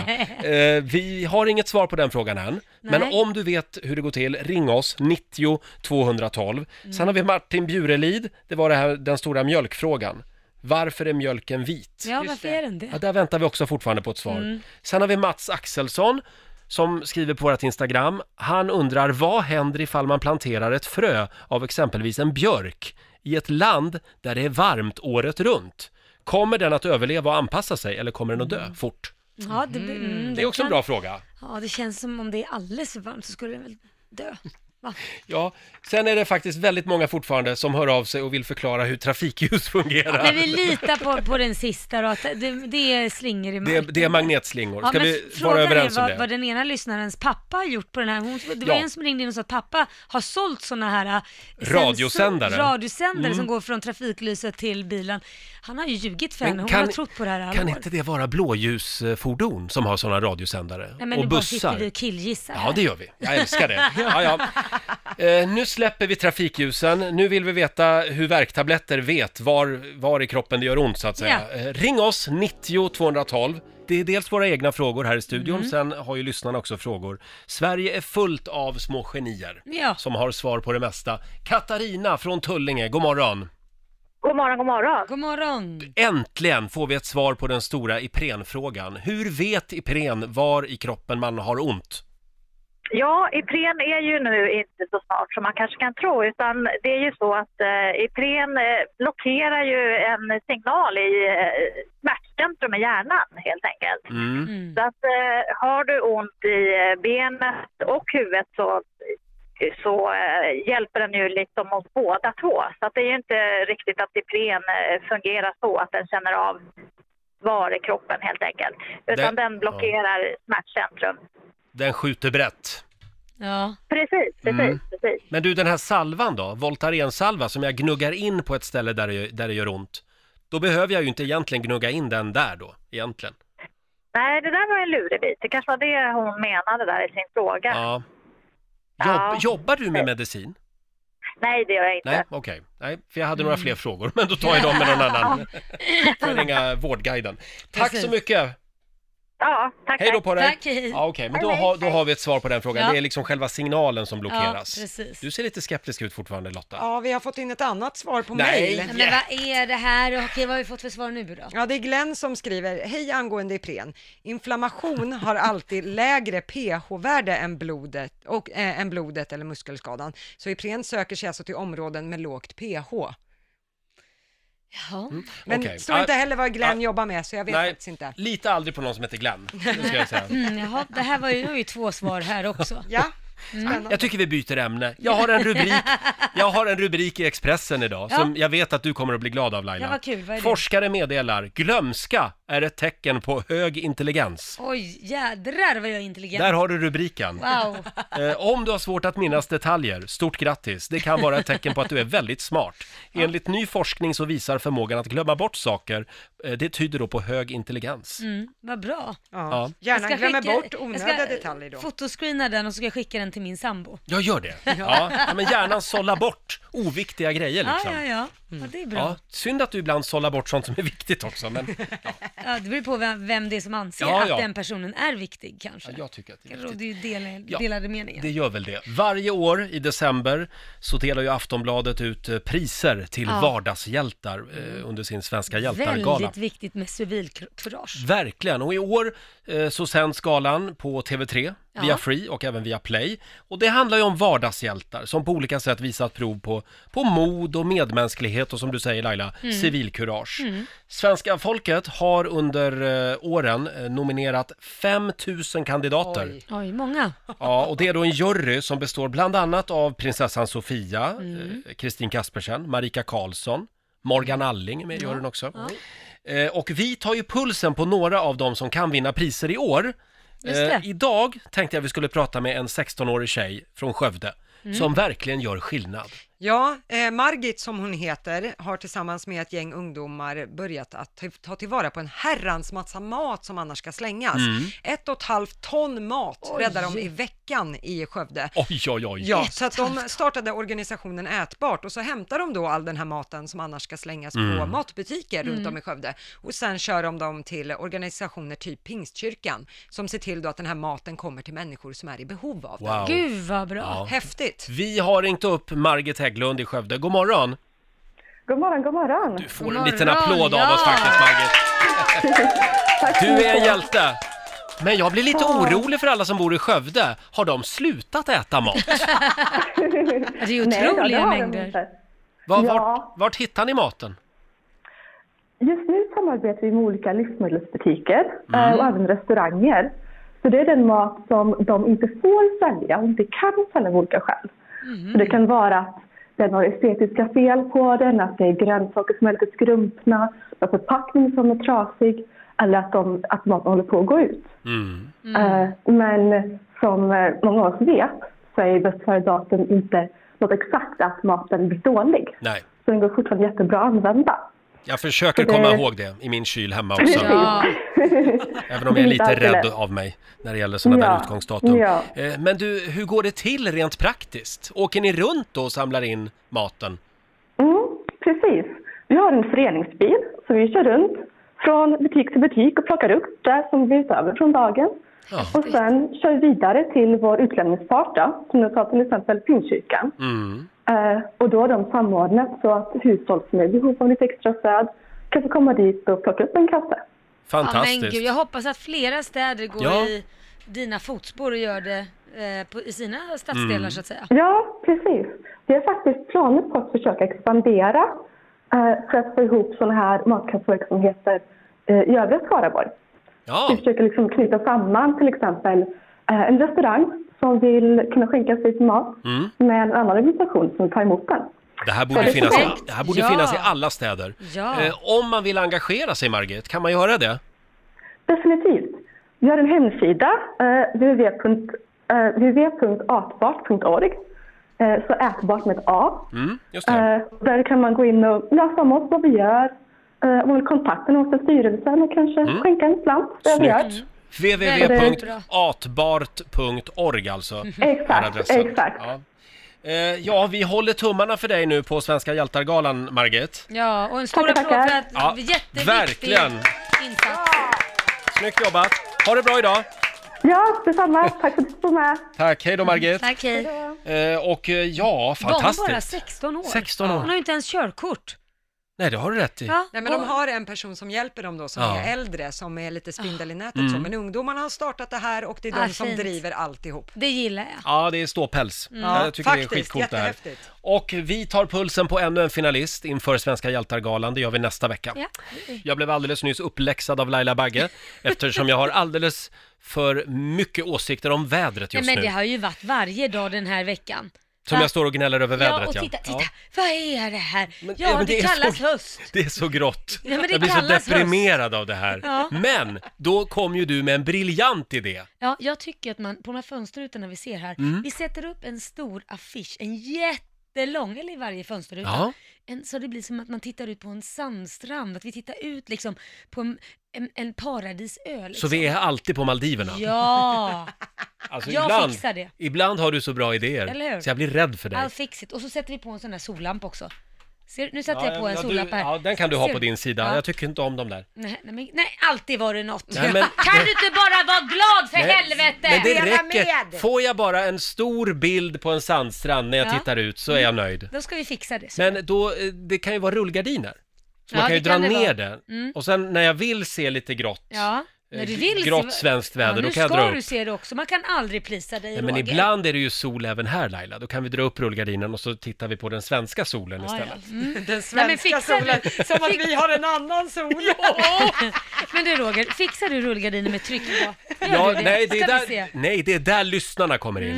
Speaker 1: Eh, vi har inget svar på den frågan än. Men
Speaker 4: Nej.
Speaker 1: om du vet hur det går till, ring oss, 90 212.
Speaker 4: Mm.
Speaker 1: Sen har vi Martin Bjurelid, det var det här, den stora mjölkfrågan. Varför är mjölken vit?
Speaker 4: Ja, Mm. varför är den det?
Speaker 1: Ja, där väntar vi också fortfarande på ett svar. Sen har vi Mats Axelsson som skriver på vårt Instagram. Han undrar vad händer ifall man planterar ett frö av exempelvis en björk i ett land där det är varmt året runt? Kommer den att överleva och anpassa sig eller kommer den att dö fort?
Speaker 4: Ja, det, mm,
Speaker 1: Mhm. Det är också en
Speaker 4: kan-
Speaker 1: bra fråga.
Speaker 4: Ja, det känns som om det är alldeles för varmt så skulle den väl dö.
Speaker 1: Ja, sen är det faktiskt väldigt många fortfarande som hör av sig och vill förklara hur trafikljus fungerar.
Speaker 4: Men vi litar på, på den sista då, att det, det är slingor i
Speaker 1: det, är,
Speaker 4: marken.
Speaker 1: det är magnetslingor, ska
Speaker 4: ja, men
Speaker 1: vi
Speaker 4: frågan
Speaker 1: vara överens
Speaker 4: är
Speaker 1: om
Speaker 4: vad,
Speaker 1: det?
Speaker 4: vad den ena lyssnarens pappa har gjort på den här. Hon, det var
Speaker 1: Ja.
Speaker 4: en som ringde in och sa att pappa har sålt sådana här eh,
Speaker 1: Radiosändare. Mm.
Speaker 4: sensor- radiosändare som går från trafiklyset till bilen. Han har ju ljugit för henne, hon har trott på det här i alla
Speaker 1: kan
Speaker 4: år.
Speaker 1: inte det vara blåljusfordon som har sådana radiosändare?
Speaker 4: Nej, men
Speaker 1: och
Speaker 4: nu bara
Speaker 1: bussar?
Speaker 4: sitter vi och killgissar
Speaker 1: Ja,
Speaker 4: här.
Speaker 1: det gör vi. Jag älskar
Speaker 4: *laughs*
Speaker 1: det. Ja, ja. Eh, nu släpper vi trafikljusen. Nu vill vi veta hur värktabletter vet var, var i kroppen det gör ont, så att säga.
Speaker 4: Ja.
Speaker 1: Eh, ring oss, 90 212. Det är dels våra egna frågor här i studion,
Speaker 4: Mm.
Speaker 1: sen har ju lyssnarna också frågor. Sverige är fullt av små genier
Speaker 4: Ja.
Speaker 1: som har svar på det mesta. Katarina från Tullinge, god morgon.
Speaker 7: God morgon, god morgon.
Speaker 4: God morgon!
Speaker 1: Äntligen får vi ett svar på den stora Ipren-frågan. Hur vet Ipren var i kroppen man har ont?
Speaker 7: Ja, Ipren är ju nu inte så smart som man kanske kan tro utan det är ju så att eh, Ipren eh, blockerar ju en signal i eh, smärtcentrum i hjärnan helt enkelt.
Speaker 1: Mm.
Speaker 7: Så att eh, har du ont i eh, benet och huvudet så, så eh, hjälper den ju liksom mot båda två. Så att det är ju inte riktigt att Ipren eh, fungerar så att den känner av var i kroppen helt enkelt. Utan
Speaker 1: Det-
Speaker 7: den blockerar smärtcentrum.
Speaker 1: Den skjuter brett.
Speaker 4: Ja,
Speaker 7: Precis,
Speaker 1: Mm.
Speaker 7: precis, precis.
Speaker 1: Men du, den här salvan då? Voltarensalva som jag gnuggar in på ett ställe där det, där det gör ont. Då behöver jag ju inte egentligen gnugga in den där då, egentligen.
Speaker 7: Nej, det där var en lurig bit. Det kanske var det hon menade där i sin fråga.
Speaker 1: Ja. Jobb,
Speaker 7: Ja.
Speaker 1: Jobbar du med medicin?
Speaker 7: Nej, det gör jag inte.
Speaker 1: Nej, okej. Nej, för jag hade
Speaker 4: Mm.
Speaker 1: några fler frågor, men då tar jag dem med någon
Speaker 7: *laughs*
Speaker 1: annan. Får jag ringa Vårdguiden. Tack så
Speaker 4: Precis.
Speaker 1: mycket!
Speaker 7: Ja, tack.
Speaker 1: Hej då
Speaker 7: tack.
Speaker 1: på dig!
Speaker 4: Tack,
Speaker 7: *laughs*
Speaker 4: hej.
Speaker 1: Ja, okej, men då, har, då har vi ett svar på den frågan.
Speaker 4: Ja.
Speaker 1: Det är liksom själva signalen som
Speaker 4: ja
Speaker 1: blockeras.
Speaker 4: precis.
Speaker 1: du ser lite skeptisk ut fortfarande Lotta.
Speaker 2: Ja, vi har fått in ett annat svar på
Speaker 1: Nej.
Speaker 2: mail.
Speaker 4: Men vad är det här? Okej, vad har vi fått för svar nu då?
Speaker 2: Ja, det är Glenn som skriver, hej angående Ipren. Inflammation har alltid lägre pH-värde än blodet, och, eh, än blodet eller muskelskadan. Så Ipren söker sig alltså till områden med lågt pH.
Speaker 4: Ja.
Speaker 2: Men
Speaker 1: Mm. Okej.
Speaker 2: står inte heller vad Glenn
Speaker 1: ah.
Speaker 2: jobbar med, så jag vet
Speaker 1: Nej,
Speaker 2: faktiskt inte.
Speaker 1: lita aldrig på någon som heter Glenn. Det ska jag
Speaker 4: *laughs*
Speaker 1: säga.
Speaker 4: Mm, jaha, det här var ju, det var ju två svar här också.
Speaker 2: Ja, spännande.
Speaker 1: Jag tycker vi byter ämne. Jag har en rubrik, jag har en rubrik i Expressen idag
Speaker 4: Ja.
Speaker 1: som jag vet att du kommer att bli glad av Laila.
Speaker 4: Ja, vad kul. Vad är det?
Speaker 1: Forskare meddelar, glömska är ett tecken på hög intelligens.
Speaker 4: Oj, jädrar vad jag är intelligent.
Speaker 1: Där har du rubriken.
Speaker 4: Wow.
Speaker 1: Eh, om du har svårt att minnas detaljer, stort grattis. Det kan vara ett tecken på att du är väldigt smart. Enligt ny forskning så visar förmågan att glömma bort saker, eh, det tyder då på hög intelligens.
Speaker 4: Mm, vad bra.
Speaker 2: Ja.
Speaker 4: Jag
Speaker 2: Hjärnan
Speaker 4: ska
Speaker 2: glömmer
Speaker 4: skicka-
Speaker 2: bort onödiga
Speaker 4: jag ska
Speaker 2: detaljer då.
Speaker 4: fotoscreena den och så ska jag skicka den till min sambo.
Speaker 1: Jag gör det. *laughs* Ja. Ja, men hjärnan sållar bort oviktiga grejer
Speaker 4: Ja,
Speaker 1: liksom.
Speaker 4: ja, ja.
Speaker 2: Mm.
Speaker 4: ja. Det är bra.
Speaker 1: Ja, synd att du ibland sållar bort sånt som är viktigt också, men
Speaker 4: Ja, det beror på vem, vem det är som anser
Speaker 1: Ja,
Speaker 4: att
Speaker 1: ja.
Speaker 4: den personen är viktig kanske.
Speaker 1: ja, jag tycker att det är
Speaker 4: Det råder
Speaker 1: viktigt.
Speaker 4: ju del,
Speaker 1: Ja,
Speaker 4: delade meningar.
Speaker 1: Det gör väl det. Varje år i december så delar ju Aftonbladet ut eh, priser till
Speaker 4: Ja.
Speaker 1: vardagshjältar eh, under sin Svenska hjältar-gala.
Speaker 4: Väldigt viktigt med civilkurage.
Speaker 1: Verkligen, och i år eh, så sänds galan på TV3,
Speaker 4: Ja.
Speaker 1: via Free och även via Play. Och det handlar ju om vardagshjältar som på olika sätt visat prov på, på mod och medmänsklighet och som du säger Laila,
Speaker 4: Mm.
Speaker 1: civilkurage. Svenska folket har under eh, åren eh, nominerat 5 000 kandidater.
Speaker 2: Oj.
Speaker 4: Oj, många.
Speaker 1: *laughs* Ja, och det är då en jury som består bland annat av prinsessan Sofia,
Speaker 4: Mm.
Speaker 1: eh, Kristin Kaspersen, Marika Karlsson, Morgan
Speaker 2: Mm.
Speaker 1: Alling är med i juryn också. Eh, och vi tar ju pulsen på några av dem som kan vinna priser i år. Eh,
Speaker 4: Just det.
Speaker 1: idag tänkte jag vi skulle prata med en 16-årig tjej från Skövde
Speaker 2: Mm.
Speaker 1: som verkligen gör skillnad.
Speaker 2: Ja, eh, Margit som hon heter har tillsammans med ett gäng ungdomar börjat att ta- ta tillvara på en herrans massa mat som annars ska slängas.
Speaker 1: Mm.
Speaker 2: Ett och ett halvt ton mat räddar de i veckan i Skövde.
Speaker 1: Oj, oj, oj.
Speaker 2: Ja,
Speaker 4: Ett
Speaker 2: så att de startade organisationen Ätbart och så hämtar de då all den här maten som annars ska slängas på
Speaker 1: Mm.
Speaker 2: matbutiker runt
Speaker 4: Mm.
Speaker 2: om i Skövde och sen kör de dem till organisationer typ Pingstkyrkan som ser till då att den här maten kommer till människor som är i behov av den.
Speaker 1: Wow.
Speaker 4: Gud vad bra.
Speaker 1: Ja.
Speaker 2: Häftigt!
Speaker 1: Vi har ringt upp Margit Hägglund i Skövde. God morgon!
Speaker 8: God morgon, god morgon.
Speaker 1: Du får
Speaker 4: God
Speaker 1: en liten
Speaker 4: morgon,
Speaker 1: applåd av
Speaker 4: ja.
Speaker 1: oss faktiskt, Margit.
Speaker 8: Tack så
Speaker 1: Du är en
Speaker 8: mycket.
Speaker 1: hjälte! Men jag blir lite orolig för alla som bor i Skövde. Har de slutat äta mat?
Speaker 4: Det är ju
Speaker 8: Nej, då, det
Speaker 4: otroliga
Speaker 8: har de
Speaker 4: mängder.
Speaker 8: inte.
Speaker 1: Var,
Speaker 8: Ja.
Speaker 1: vart, vart hittar ni maten?
Speaker 8: Just nu samarbetar vi med olika livsmedelsbutiker eh,
Speaker 1: Mm.
Speaker 8: och även restauranger. Så det är den mat som de inte får sälja och inte kan sälja av olika skäl.
Speaker 10: Så
Speaker 4: Mm.
Speaker 1: Mm.
Speaker 10: det kan vara att den har estetiska fel på den, att det är grönsaker som är lite skrumpna, en förpackning som är trasig eller att, de, att maten håller på att gå ut.
Speaker 1: Mm.
Speaker 10: Eh, Men som eh, många av oss vet så är bäst före-datum inte något exakt att maten blir dålig.
Speaker 1: Nej.
Speaker 10: Så den går fortfarande jättebra att använda.
Speaker 1: Jag försöker
Speaker 10: Det-
Speaker 1: komma ihåg det i min kyl hemma också.
Speaker 4: Ja.
Speaker 1: Även om jag är lite rädd av mig när det gäller sådana där
Speaker 10: *laughs* Ja,
Speaker 1: utgångsdatum.
Speaker 10: ja.
Speaker 1: Eh, Men du, hur går det till rent praktiskt? Åker ni runt då och samlar in maten?
Speaker 10: Mm, precis. Vi har en föreningsbil så vi kör runt från butik till butik och plockar upp det som blivit över från dagen.
Speaker 1: Ja.
Speaker 10: Och sen kör vi vidare till vår utlämningspart då, som du sa till exempel Pingstkyrkan.
Speaker 1: Mm.
Speaker 10: Eh, och då har de samordnat så att hushåll som är i behov av lite extra stöd kan få komma dit och plocka upp en kasse.
Speaker 4: Ja, men gud,
Speaker 1: Fantastiskt.
Speaker 4: jag hoppas att flera städer går
Speaker 1: Ja.
Speaker 4: i dina fotspår och gör det eh, på, i sina stadsdelar
Speaker 1: Mm.
Speaker 4: så att säga.
Speaker 10: Ja, precis. Vi har faktiskt planer på att försöka expandera eh, för att få ihop sådana här matkassverksamheter eh, i övriga Skaraborg. Vi
Speaker 1: Ja,
Speaker 10: försöker liksom knyta samman till exempel eh, en restaurang som vill kunna skänka sig sin mat
Speaker 1: Mm.
Speaker 10: med en annan organisation som tar emot den.
Speaker 1: det här borde, finnas i,
Speaker 4: Perfekt.
Speaker 1: det här borde
Speaker 4: Ja.
Speaker 1: finnas i alla städer.
Speaker 4: Ja.
Speaker 1: Eh, Om man vill engagera sig, Margit, kan man göra det?
Speaker 10: Definitivt. Vi har en hemsida, eh, www. eh, www.atbart.org, eh, så ätbart med ett A.
Speaker 1: Mm, just det.
Speaker 10: Eh, där kan man gå in och läsa om oss, vad vi gör, eh, om man vill kontakta någon från styrelsen och kanske skänka en slant. Det är vad vi gör.
Speaker 1: Mm. Snyggt. www.atbart.org alltså. är
Speaker 10: Exakt,
Speaker 1: adressen.
Speaker 10: exakt.
Speaker 1: Ja. Eh, ja, vi håller tummarna för dig nu på Svenska hjältargalan, Margit.
Speaker 4: Ja, och en stor
Speaker 10: Tackar,
Speaker 4: applåd för
Speaker 10: tackar.
Speaker 4: att
Speaker 1: Ja,
Speaker 4: jätteviktig
Speaker 1: verkligen.
Speaker 4: insats.
Speaker 1: Snyggt jobbat! Ha det bra idag!
Speaker 10: Ja, detsamma. Tack för att du var med.
Speaker 1: Tack, hej då Margit!
Speaker 4: Tack, hej.
Speaker 1: Eh, och eh, ja,
Speaker 4: De
Speaker 1: fantastiskt!
Speaker 4: är bara 16 år.
Speaker 1: 16 år.
Speaker 4: Hon har ju inte ens körkort.
Speaker 1: Nej, det har du rätt i.
Speaker 4: Ja,
Speaker 2: Nej men de
Speaker 4: och-
Speaker 2: har en person som hjälper dem då som
Speaker 1: Ja. Mm.
Speaker 2: är äldre, som är lite spindel i nätet så, men ungdomarna har startat det här och det är de
Speaker 4: Ah,
Speaker 2: som
Speaker 4: fint.
Speaker 2: driver alltihop. Mm.
Speaker 4: Det gillar jag.
Speaker 1: Ja, det är ståpäls.
Speaker 4: Mm.
Speaker 2: Ja,
Speaker 1: Jag tycker det är
Speaker 2: faktiskt.
Speaker 1: skitcoolt det här.
Speaker 2: Jättehäftigt.
Speaker 1: Och vi tar pulsen på ännu en finalist inför Svenska hjältargalan. Det gör vi nästa vecka.
Speaker 4: Ja.
Speaker 1: Jag blev alldeles nyss uppläxad av Laila Bagge eftersom jag har alldeles för mycket åsikter om vädret
Speaker 4: Nej,
Speaker 1: just
Speaker 4: men det
Speaker 1: nu.
Speaker 4: har ju varit varje dag den här veckan.
Speaker 1: Som
Speaker 4: Va?
Speaker 1: jag står och gnäller över
Speaker 4: Ja,
Speaker 1: vädret.
Speaker 4: och titta, titta,
Speaker 1: Ja.
Speaker 4: vad är det här?
Speaker 1: Men-
Speaker 4: ja,
Speaker 1: ja, men
Speaker 4: det,
Speaker 1: det är
Speaker 4: kallas
Speaker 1: så-
Speaker 4: höst.
Speaker 1: Det är så grått.
Speaker 4: Ja, men det
Speaker 1: jag blir så
Speaker 4: kallas höst.
Speaker 1: deprimerad av det här. Men då kom ju du med en briljant idé.
Speaker 4: Ja, jag tycker att man, på de här fönsterrutorna vi ser här,
Speaker 1: Mm.
Speaker 4: vi sätter upp en stor affisch, en jättelång, eller i varje fönsterruta,
Speaker 1: Ja.
Speaker 4: en, så det blir som att man tittar ut på en sandstrand, att vi tittar ut liksom på en, en, en paradisö.
Speaker 1: Så
Speaker 4: Liksom.
Speaker 1: vi är alltid på Maldiverna.
Speaker 4: Ja,
Speaker 1: Alltså,
Speaker 4: jag fixar det.
Speaker 1: Ibland har du så bra idéer,
Speaker 4: Eller hur?
Speaker 1: så jag blir rädd *laughs* för dig.
Speaker 4: I'll fix it. Och så sätter vi på en sån här sollampa också. Ser, nu sätter jag på en
Speaker 1: ja,
Speaker 4: sollapp
Speaker 1: du,
Speaker 4: här.
Speaker 1: ja, den kan du ha
Speaker 4: Ser
Speaker 1: på din sida.
Speaker 4: Ja.
Speaker 1: Jag tycker inte om dem där.
Speaker 4: Nej, nej, men, nej, alltid var det något.
Speaker 1: Nej, men-
Speaker 4: *laughs* Kan du inte bara vara glad för
Speaker 1: Nej,
Speaker 4: helvete?
Speaker 1: Men det
Speaker 2: Leva
Speaker 1: räcker.
Speaker 2: med.
Speaker 1: Får jag bara en stor bild på en sandstrand när jag
Speaker 4: Ja. Mm.
Speaker 1: tittar ut så är jag nöjd.
Speaker 4: Då ska vi fixa det.
Speaker 1: Men då, eh, det kan ju vara rullgardiner. Så
Speaker 4: Ja,
Speaker 1: man kan ju
Speaker 4: det
Speaker 1: dra
Speaker 4: kan det
Speaker 1: ner
Speaker 4: vara.
Speaker 1: det.
Speaker 4: Mm.
Speaker 1: Och sen när jag vill se lite grått,
Speaker 4: ja, när du
Speaker 1: eh,
Speaker 4: vill se-
Speaker 1: grått svenskt väder,
Speaker 4: ja,
Speaker 1: då
Speaker 4: nu
Speaker 1: kan jag
Speaker 4: ska
Speaker 1: dra
Speaker 4: du
Speaker 1: upp.
Speaker 4: se det också. Man kan aldrig plisa dig,
Speaker 1: Nej, eh, men
Speaker 4: Roger.
Speaker 1: ibland är det ju sol även här Laila. Då kan vi dra upp rullgardinen och så tittar vi på den svenska solen
Speaker 4: Ja,
Speaker 1: istället.
Speaker 4: ja. Mm.
Speaker 2: Den
Speaker 4: Nej, men
Speaker 2: svenska
Speaker 4: fixar
Speaker 2: solen,
Speaker 4: du-
Speaker 2: *laughs* som att vi har en annan
Speaker 4: *laughs*
Speaker 2: sol.
Speaker 4: Men du Roger, fixar du rullgardiner med tryck på? Gör
Speaker 1: Ja,
Speaker 4: du det?
Speaker 1: nej, det är
Speaker 4: Ska vi se. Mhm.
Speaker 1: där, nej, det är där lyssnarna kommer in.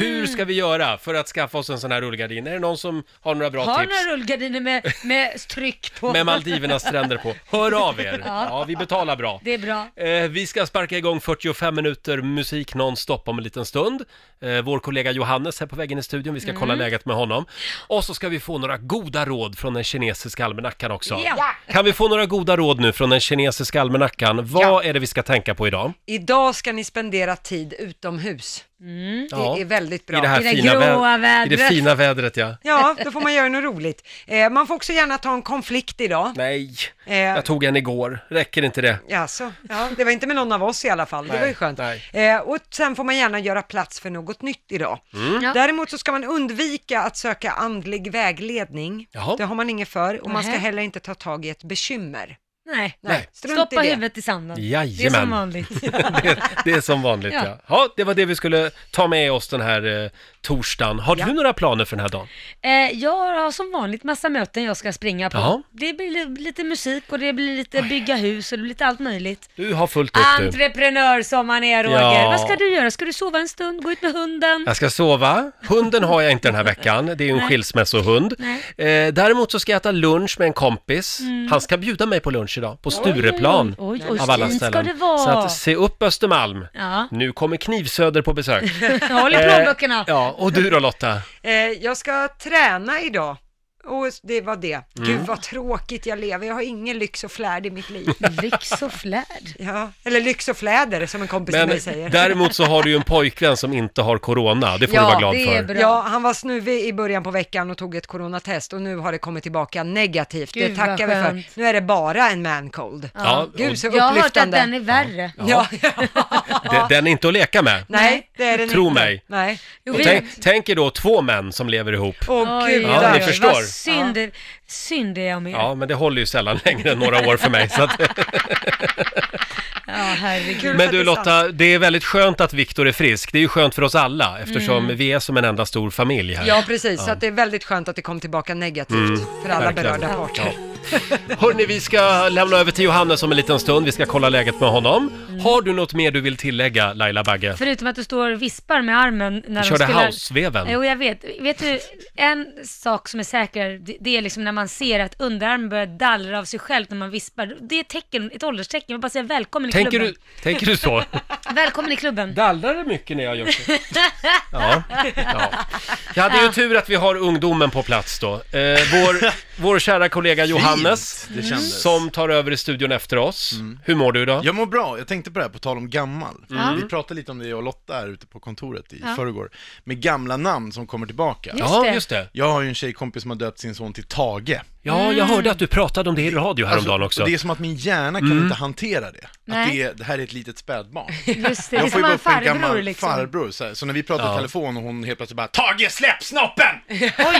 Speaker 1: Hur ska vi göra för att skaffa oss en sån här rullgardin? Är det någon som har några bra
Speaker 4: Har du
Speaker 1: tips?
Speaker 4: några rullgardiner med, med tryck på?
Speaker 1: Med Maldivernas stränder på. Hör av er! Ja,
Speaker 4: *laughs* Ja.
Speaker 1: vi betalar bra.
Speaker 4: *laughs* Det är bra.
Speaker 1: Eh, vi ska sparka igång 45 minuter musik nonstop om en liten stund. Eh, vår kollega Johannes är på vägen i studion, vi ska kolla läget med honom. Och så ska vi få några goda råd från den kinesiska almanackan också.
Speaker 4: Ja.
Speaker 1: Kan vi få några goda råd nu från den kinesiska almanackan? Vad är det vi ska tänka på idag?
Speaker 2: Idag ska ni spendera tid utomhus. Det
Speaker 1: Ja.
Speaker 2: är väldigt bra.
Speaker 1: I det här
Speaker 4: Mm. I det
Speaker 1: fina
Speaker 4: gråa
Speaker 1: vädret. I det
Speaker 4: vädret.
Speaker 1: fina vädret, ja.
Speaker 2: Ja, då får man göra något roligt. Eh, man får också gärna ta en konflikt idag.
Speaker 1: Nej,
Speaker 2: Eh.
Speaker 1: jag tog en igår. Räcker inte det?
Speaker 2: Jaså, ja, det var inte med någon av oss i alla fall, det var ju skönt.
Speaker 1: nej.
Speaker 2: Eh, och sen får man gärna göra plats för något nytt idag.
Speaker 1: Mm.
Speaker 4: Ja.
Speaker 2: Däremot så ska man undvika att söka andlig vägledning,
Speaker 1: Jaha.
Speaker 2: det har man inget för, och man ska
Speaker 4: Nähä.
Speaker 2: heller inte ta tag i ett bekymmer.
Speaker 4: Nej.
Speaker 1: Nej.
Speaker 2: Strunt
Speaker 4: Stoppa
Speaker 2: i det.
Speaker 4: huvudet i sanden. Det är
Speaker 1: Jajamän.
Speaker 4: som vanligt.
Speaker 1: *laughs* det, det är som vanligt ja.
Speaker 4: Ja.
Speaker 1: ja. det var det vi skulle ta med oss den här eh, torsdagen. Har du några planer för den här dagen?
Speaker 4: Eh, jag har som vanligt massa möten jag ska springa på.
Speaker 1: Jaha.
Speaker 4: Det blir li- lite musik och det blir lite bygga hus och det blir lite allt möjligt.
Speaker 1: Du har fullt upp du.
Speaker 4: Entreprenör som man är Roger.
Speaker 1: Ja.
Speaker 4: Vad ska du göra? Ska du sova en stund? Gå ut med hunden?
Speaker 1: Jag ska sova. Hunden har jag inte den här veckan. Det är ju en
Speaker 4: Nej.
Speaker 1: skilsmässohund.
Speaker 4: Nej.
Speaker 1: Eh, däremot så ska jag äta lunch med en kompis.
Speaker 4: Mm.
Speaker 1: Han ska bjuda mig på lunch idag, på Stureplan.
Speaker 4: Oj, oj,
Speaker 1: av alla
Speaker 4: fint ska
Speaker 1: ställen.
Speaker 4: det vara.
Speaker 1: Så att se upp Östermalm.
Speaker 4: Ja.
Speaker 1: Nu kommer Knivsöder på besök.
Speaker 4: *laughs* Håll i
Speaker 1: Eh,
Speaker 4: plånböckerna.
Speaker 1: Ja, och du då Lotta?
Speaker 2: Eh, jag ska träna idag. Och det var det. Gud
Speaker 1: Mm.
Speaker 2: vad tråkigt jag lever, jag har ingen lyx och flärd i mitt liv.
Speaker 4: Lyx och flärd.
Speaker 2: Ja, eller lyx och fläder som en kompis till
Speaker 1: Men
Speaker 2: mig säger.
Speaker 1: däremot så har du ju en pojkvän som inte har corona. Det får du vara glad för.
Speaker 2: Ja, han var snuvig i början på veckan och tog ett coronatest och nu har det kommit tillbaka negativt.
Speaker 4: Gud,
Speaker 2: det
Speaker 4: vad
Speaker 2: tackar vi för.
Speaker 4: skönt.
Speaker 2: Nu är det bara en man cold.
Speaker 1: Ja,
Speaker 2: Gud, så
Speaker 4: jag har hört att
Speaker 2: upplyftande.
Speaker 4: den är värre.
Speaker 2: Ja,
Speaker 1: Den, den är inte att leka med.
Speaker 2: nej, det är den
Speaker 1: Tro
Speaker 2: inte.
Speaker 1: mig.
Speaker 2: Nej.
Speaker 4: Jo,
Speaker 1: Och
Speaker 4: vi-
Speaker 1: tänk, tänk er då två män som lever ihop.
Speaker 2: Åh gud,
Speaker 1: Ja, ni förstår.
Speaker 4: Vad synd, det- synd är jag med. Ja,
Speaker 1: Ja, men det håller ju sällan längre än några år för mig. Så
Speaker 4: *laughs*
Speaker 1: att,
Speaker 2: *laughs*
Speaker 4: herregud.
Speaker 2: Kul
Speaker 1: men
Speaker 2: att
Speaker 1: du
Speaker 2: det är sant.
Speaker 1: Lotta, det är väldigt skönt att Viktor är frisk. Det är ju skönt för oss alla eftersom
Speaker 4: Mm.
Speaker 1: vi är som en enda stor familj här. Mm.
Speaker 2: Ja, precis. Så att det är väldigt skönt att det kom tillbaka negativt för alla
Speaker 1: verkligen.
Speaker 2: berörda parter.
Speaker 1: Ja. Hörni, vi ska lämna över till Johannes om en liten stund. Vi ska kolla läget med honom.
Speaker 2: Mm.
Speaker 1: Har du något mer du vill tillägga, Laila Bagge?
Speaker 4: Förutom att du står och vispar med armen när
Speaker 1: Vi
Speaker 4: de
Speaker 1: körde
Speaker 4: spelar...
Speaker 1: houseveven.
Speaker 4: Jo, jag vet. Vet du, en sak som är säker, det- det är liksom när man ser att underarmen börjar dallra av sig själv när man vispar. Det är ett tecken, ett ålderstecken. Jag vill bara säga välkommen i
Speaker 1: Tänker du,
Speaker 4: klubben.
Speaker 1: tänker du
Speaker 2: *laughs*
Speaker 1: så?
Speaker 4: *laughs* Välkommen i klubben.
Speaker 1: Dallrar det mycket när jag gör så? Ja. ja. Jag hade ju tur att vi har ungdomen på plats då. Eh, vår, vår kära kollega Johannes,
Speaker 11: det kändes. Mm.
Speaker 1: som tar över i studion efter oss. Hur mår du idag?
Speaker 11: Jag mår bra. Jag tänkte på det här, på tal om gammal.
Speaker 4: Mm. Ja.
Speaker 11: Vi pratade lite om det, jag och Lotta här ute på kontoret i
Speaker 4: Ja.
Speaker 11: förrgår. Med gamla namn som kommer tillbaka.
Speaker 4: Just
Speaker 1: ja,
Speaker 4: det. Mm.
Speaker 1: just det.
Speaker 11: Jag har ju en tjejkompis som har döpt sin son till Tage.
Speaker 1: Ja, jag hörde att du pratade om det i radio häromdagen
Speaker 11: Alltså,
Speaker 1: också.
Speaker 11: och Det är som att min hjärna kan
Speaker 1: Mm.
Speaker 11: inte hantera det. Att
Speaker 4: Nej.
Speaker 11: det, är, det här är ett litet spädbarn.
Speaker 4: *laughs* *laughs* Just det, det är
Speaker 11: Jag får
Speaker 4: som en
Speaker 11: ju upp en
Speaker 4: farbror
Speaker 11: gammal
Speaker 4: liksom.
Speaker 11: farbror så, här. så när vi pratar
Speaker 1: Ja.
Speaker 11: i telefon och hon helt plötsligt bara Tage
Speaker 4: *laughs*
Speaker 11: släpp snoppen! Så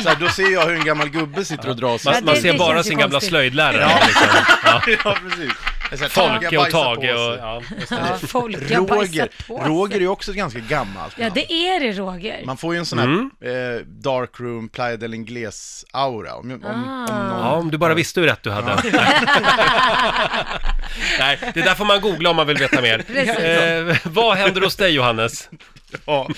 Speaker 11: här, då ser jag hur en gammal gubbe sitter och drar
Speaker 4: Ja,
Speaker 11: sig.
Speaker 1: Man, man
Speaker 4: det-
Speaker 1: ser
Speaker 4: det
Speaker 1: bara
Speaker 4: känns ju
Speaker 1: sin gamla
Speaker 4: konstigt.
Speaker 1: slöjdlärare. Liksom. Ja.
Speaker 11: *laughs* Ja, precis. Det är så här, "Tage,
Speaker 1: Folke och
Speaker 11: bajsa
Speaker 1: Tage
Speaker 11: på
Speaker 1: och...
Speaker 11: sig."
Speaker 1: Ja, just det.
Speaker 4: Ja, folk jag bajsar
Speaker 11: Roger,
Speaker 4: på sig.
Speaker 11: Roger är ju också ett ganska gammalt
Speaker 4: Ja,
Speaker 11: namn.
Speaker 4: det är det Roger.
Speaker 11: Man får ju en sån här
Speaker 1: Mm.
Speaker 11: eh, dark room, Playa del Ingles-aura. Om, om,
Speaker 4: Ah.
Speaker 11: om någon...
Speaker 1: Ja, om du bara visste hur rätt du hade. Nej, det där får man googla om man vill veta mer. Eh, vad händer hos dig Johannes?
Speaker 11: ja,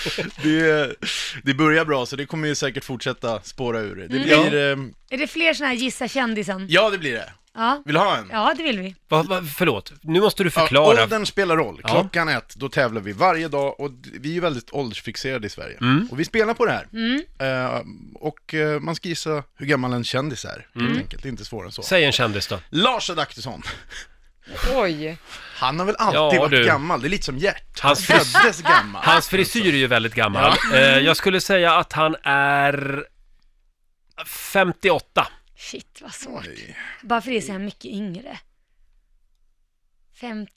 Speaker 11: det, det börjar bra, så det kommer ju säkert fortsätta spåra ur. Det
Speaker 1: Mm.
Speaker 11: blir, eh,
Speaker 4: Är det fler såna här gissa kändisen?
Speaker 11: ja det blir det.
Speaker 4: Ja.
Speaker 11: Vill du ha en?
Speaker 4: ja, det vill vi.
Speaker 1: Va, va, förlåt, nu måste du
Speaker 11: Ja,
Speaker 1: förklara.
Speaker 11: åldern spelar roll.
Speaker 1: Ja.
Speaker 11: Klockan ett, då tävlar vi varje dag och d- vi är ju väldigt åldersfixerade i Sverige.
Speaker 1: Mm.
Speaker 11: Och vi spelar på det här. Eh, och eh, man ska gissa hur gammal en kändis är,
Speaker 1: Mm.
Speaker 11: helt enkelt. Det är inte svårare än så.
Speaker 1: Säg en kändis då.
Speaker 11: Lars Adaktusson.
Speaker 2: Oj,
Speaker 11: Han har väl alltid
Speaker 1: Ja,
Speaker 11: varit
Speaker 1: du.
Speaker 11: gammal, det är lite som Gert. Han
Speaker 1: Hans fris-
Speaker 11: föddes gammal.
Speaker 1: Hans frisyr är ju väldigt gammal. Eh, jag skulle säga att han är 58.
Speaker 4: Shit, vad svårt.
Speaker 11: Oj.
Speaker 4: Bara för det så är han mycket yngre.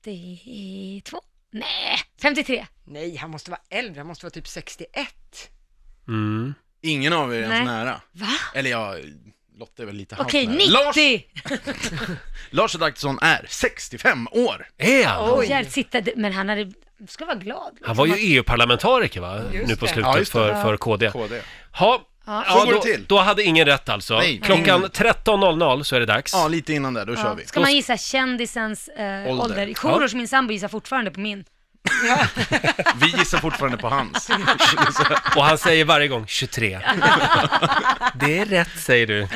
Speaker 4: 52? Nej, 53.
Speaker 2: nej han måste vara äldre, han måste vara typ 61.
Speaker 1: *laughs* Mm.
Speaker 11: Ingen av er är
Speaker 4: Nej.
Speaker 11: ens nära.
Speaker 4: Va?
Speaker 11: Eller ja, Lotta är väl lite halvt
Speaker 4: Okej,
Speaker 11: nära.
Speaker 4: 90!
Speaker 11: Lars,
Speaker 4: Lars...
Speaker 11: Lars Adaktusson är 65 år.
Speaker 1: Är han?
Speaker 2: Oj.
Speaker 4: sitter, men han hade, ska vara glad.
Speaker 1: Han var ju EU-parlamentariker E va?
Speaker 2: Just
Speaker 1: Nu på
Speaker 2: det.
Speaker 1: slutet
Speaker 11: Ja, just det.
Speaker 1: för, för KD.
Speaker 11: KD.
Speaker 1: Ha,
Speaker 4: Ja.
Speaker 11: Så går det
Speaker 1: då,
Speaker 11: till.
Speaker 1: då hade ingen rätt alltså.
Speaker 11: Nej.
Speaker 1: Klockan
Speaker 11: Mm.
Speaker 1: 13.00 så är det dags.
Speaker 11: Ja, lite innan där, då kör vi.
Speaker 4: Ska man gissa kändisens eh,
Speaker 11: Ålder.
Speaker 4: ålder? Korosh, min sambo, gissar fortfarande på min.
Speaker 11: Vi gissar fortfarande
Speaker 1: *laughs*
Speaker 11: på hans.
Speaker 1: Och han säger varje gång 23. *laughs* Det är rätt säger du.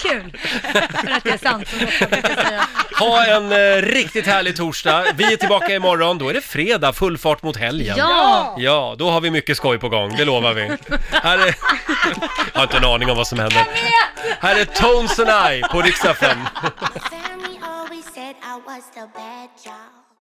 Speaker 4: Kul! *laughs* för att det är sant. som Lotta brukar säga.
Speaker 1: Ha en eh, riktigt härlig torsdag. Vi är tillbaka imorgon. Då är det fredag, full fart mot helgen.
Speaker 4: Ja!
Speaker 1: Ja, då har vi mycket skoj på gång, det lovar vi. Här är... Jag har inte en aning om vad som händer. Här är Tones and I på riksdagen.
Speaker 12: Family always said I was the bad job.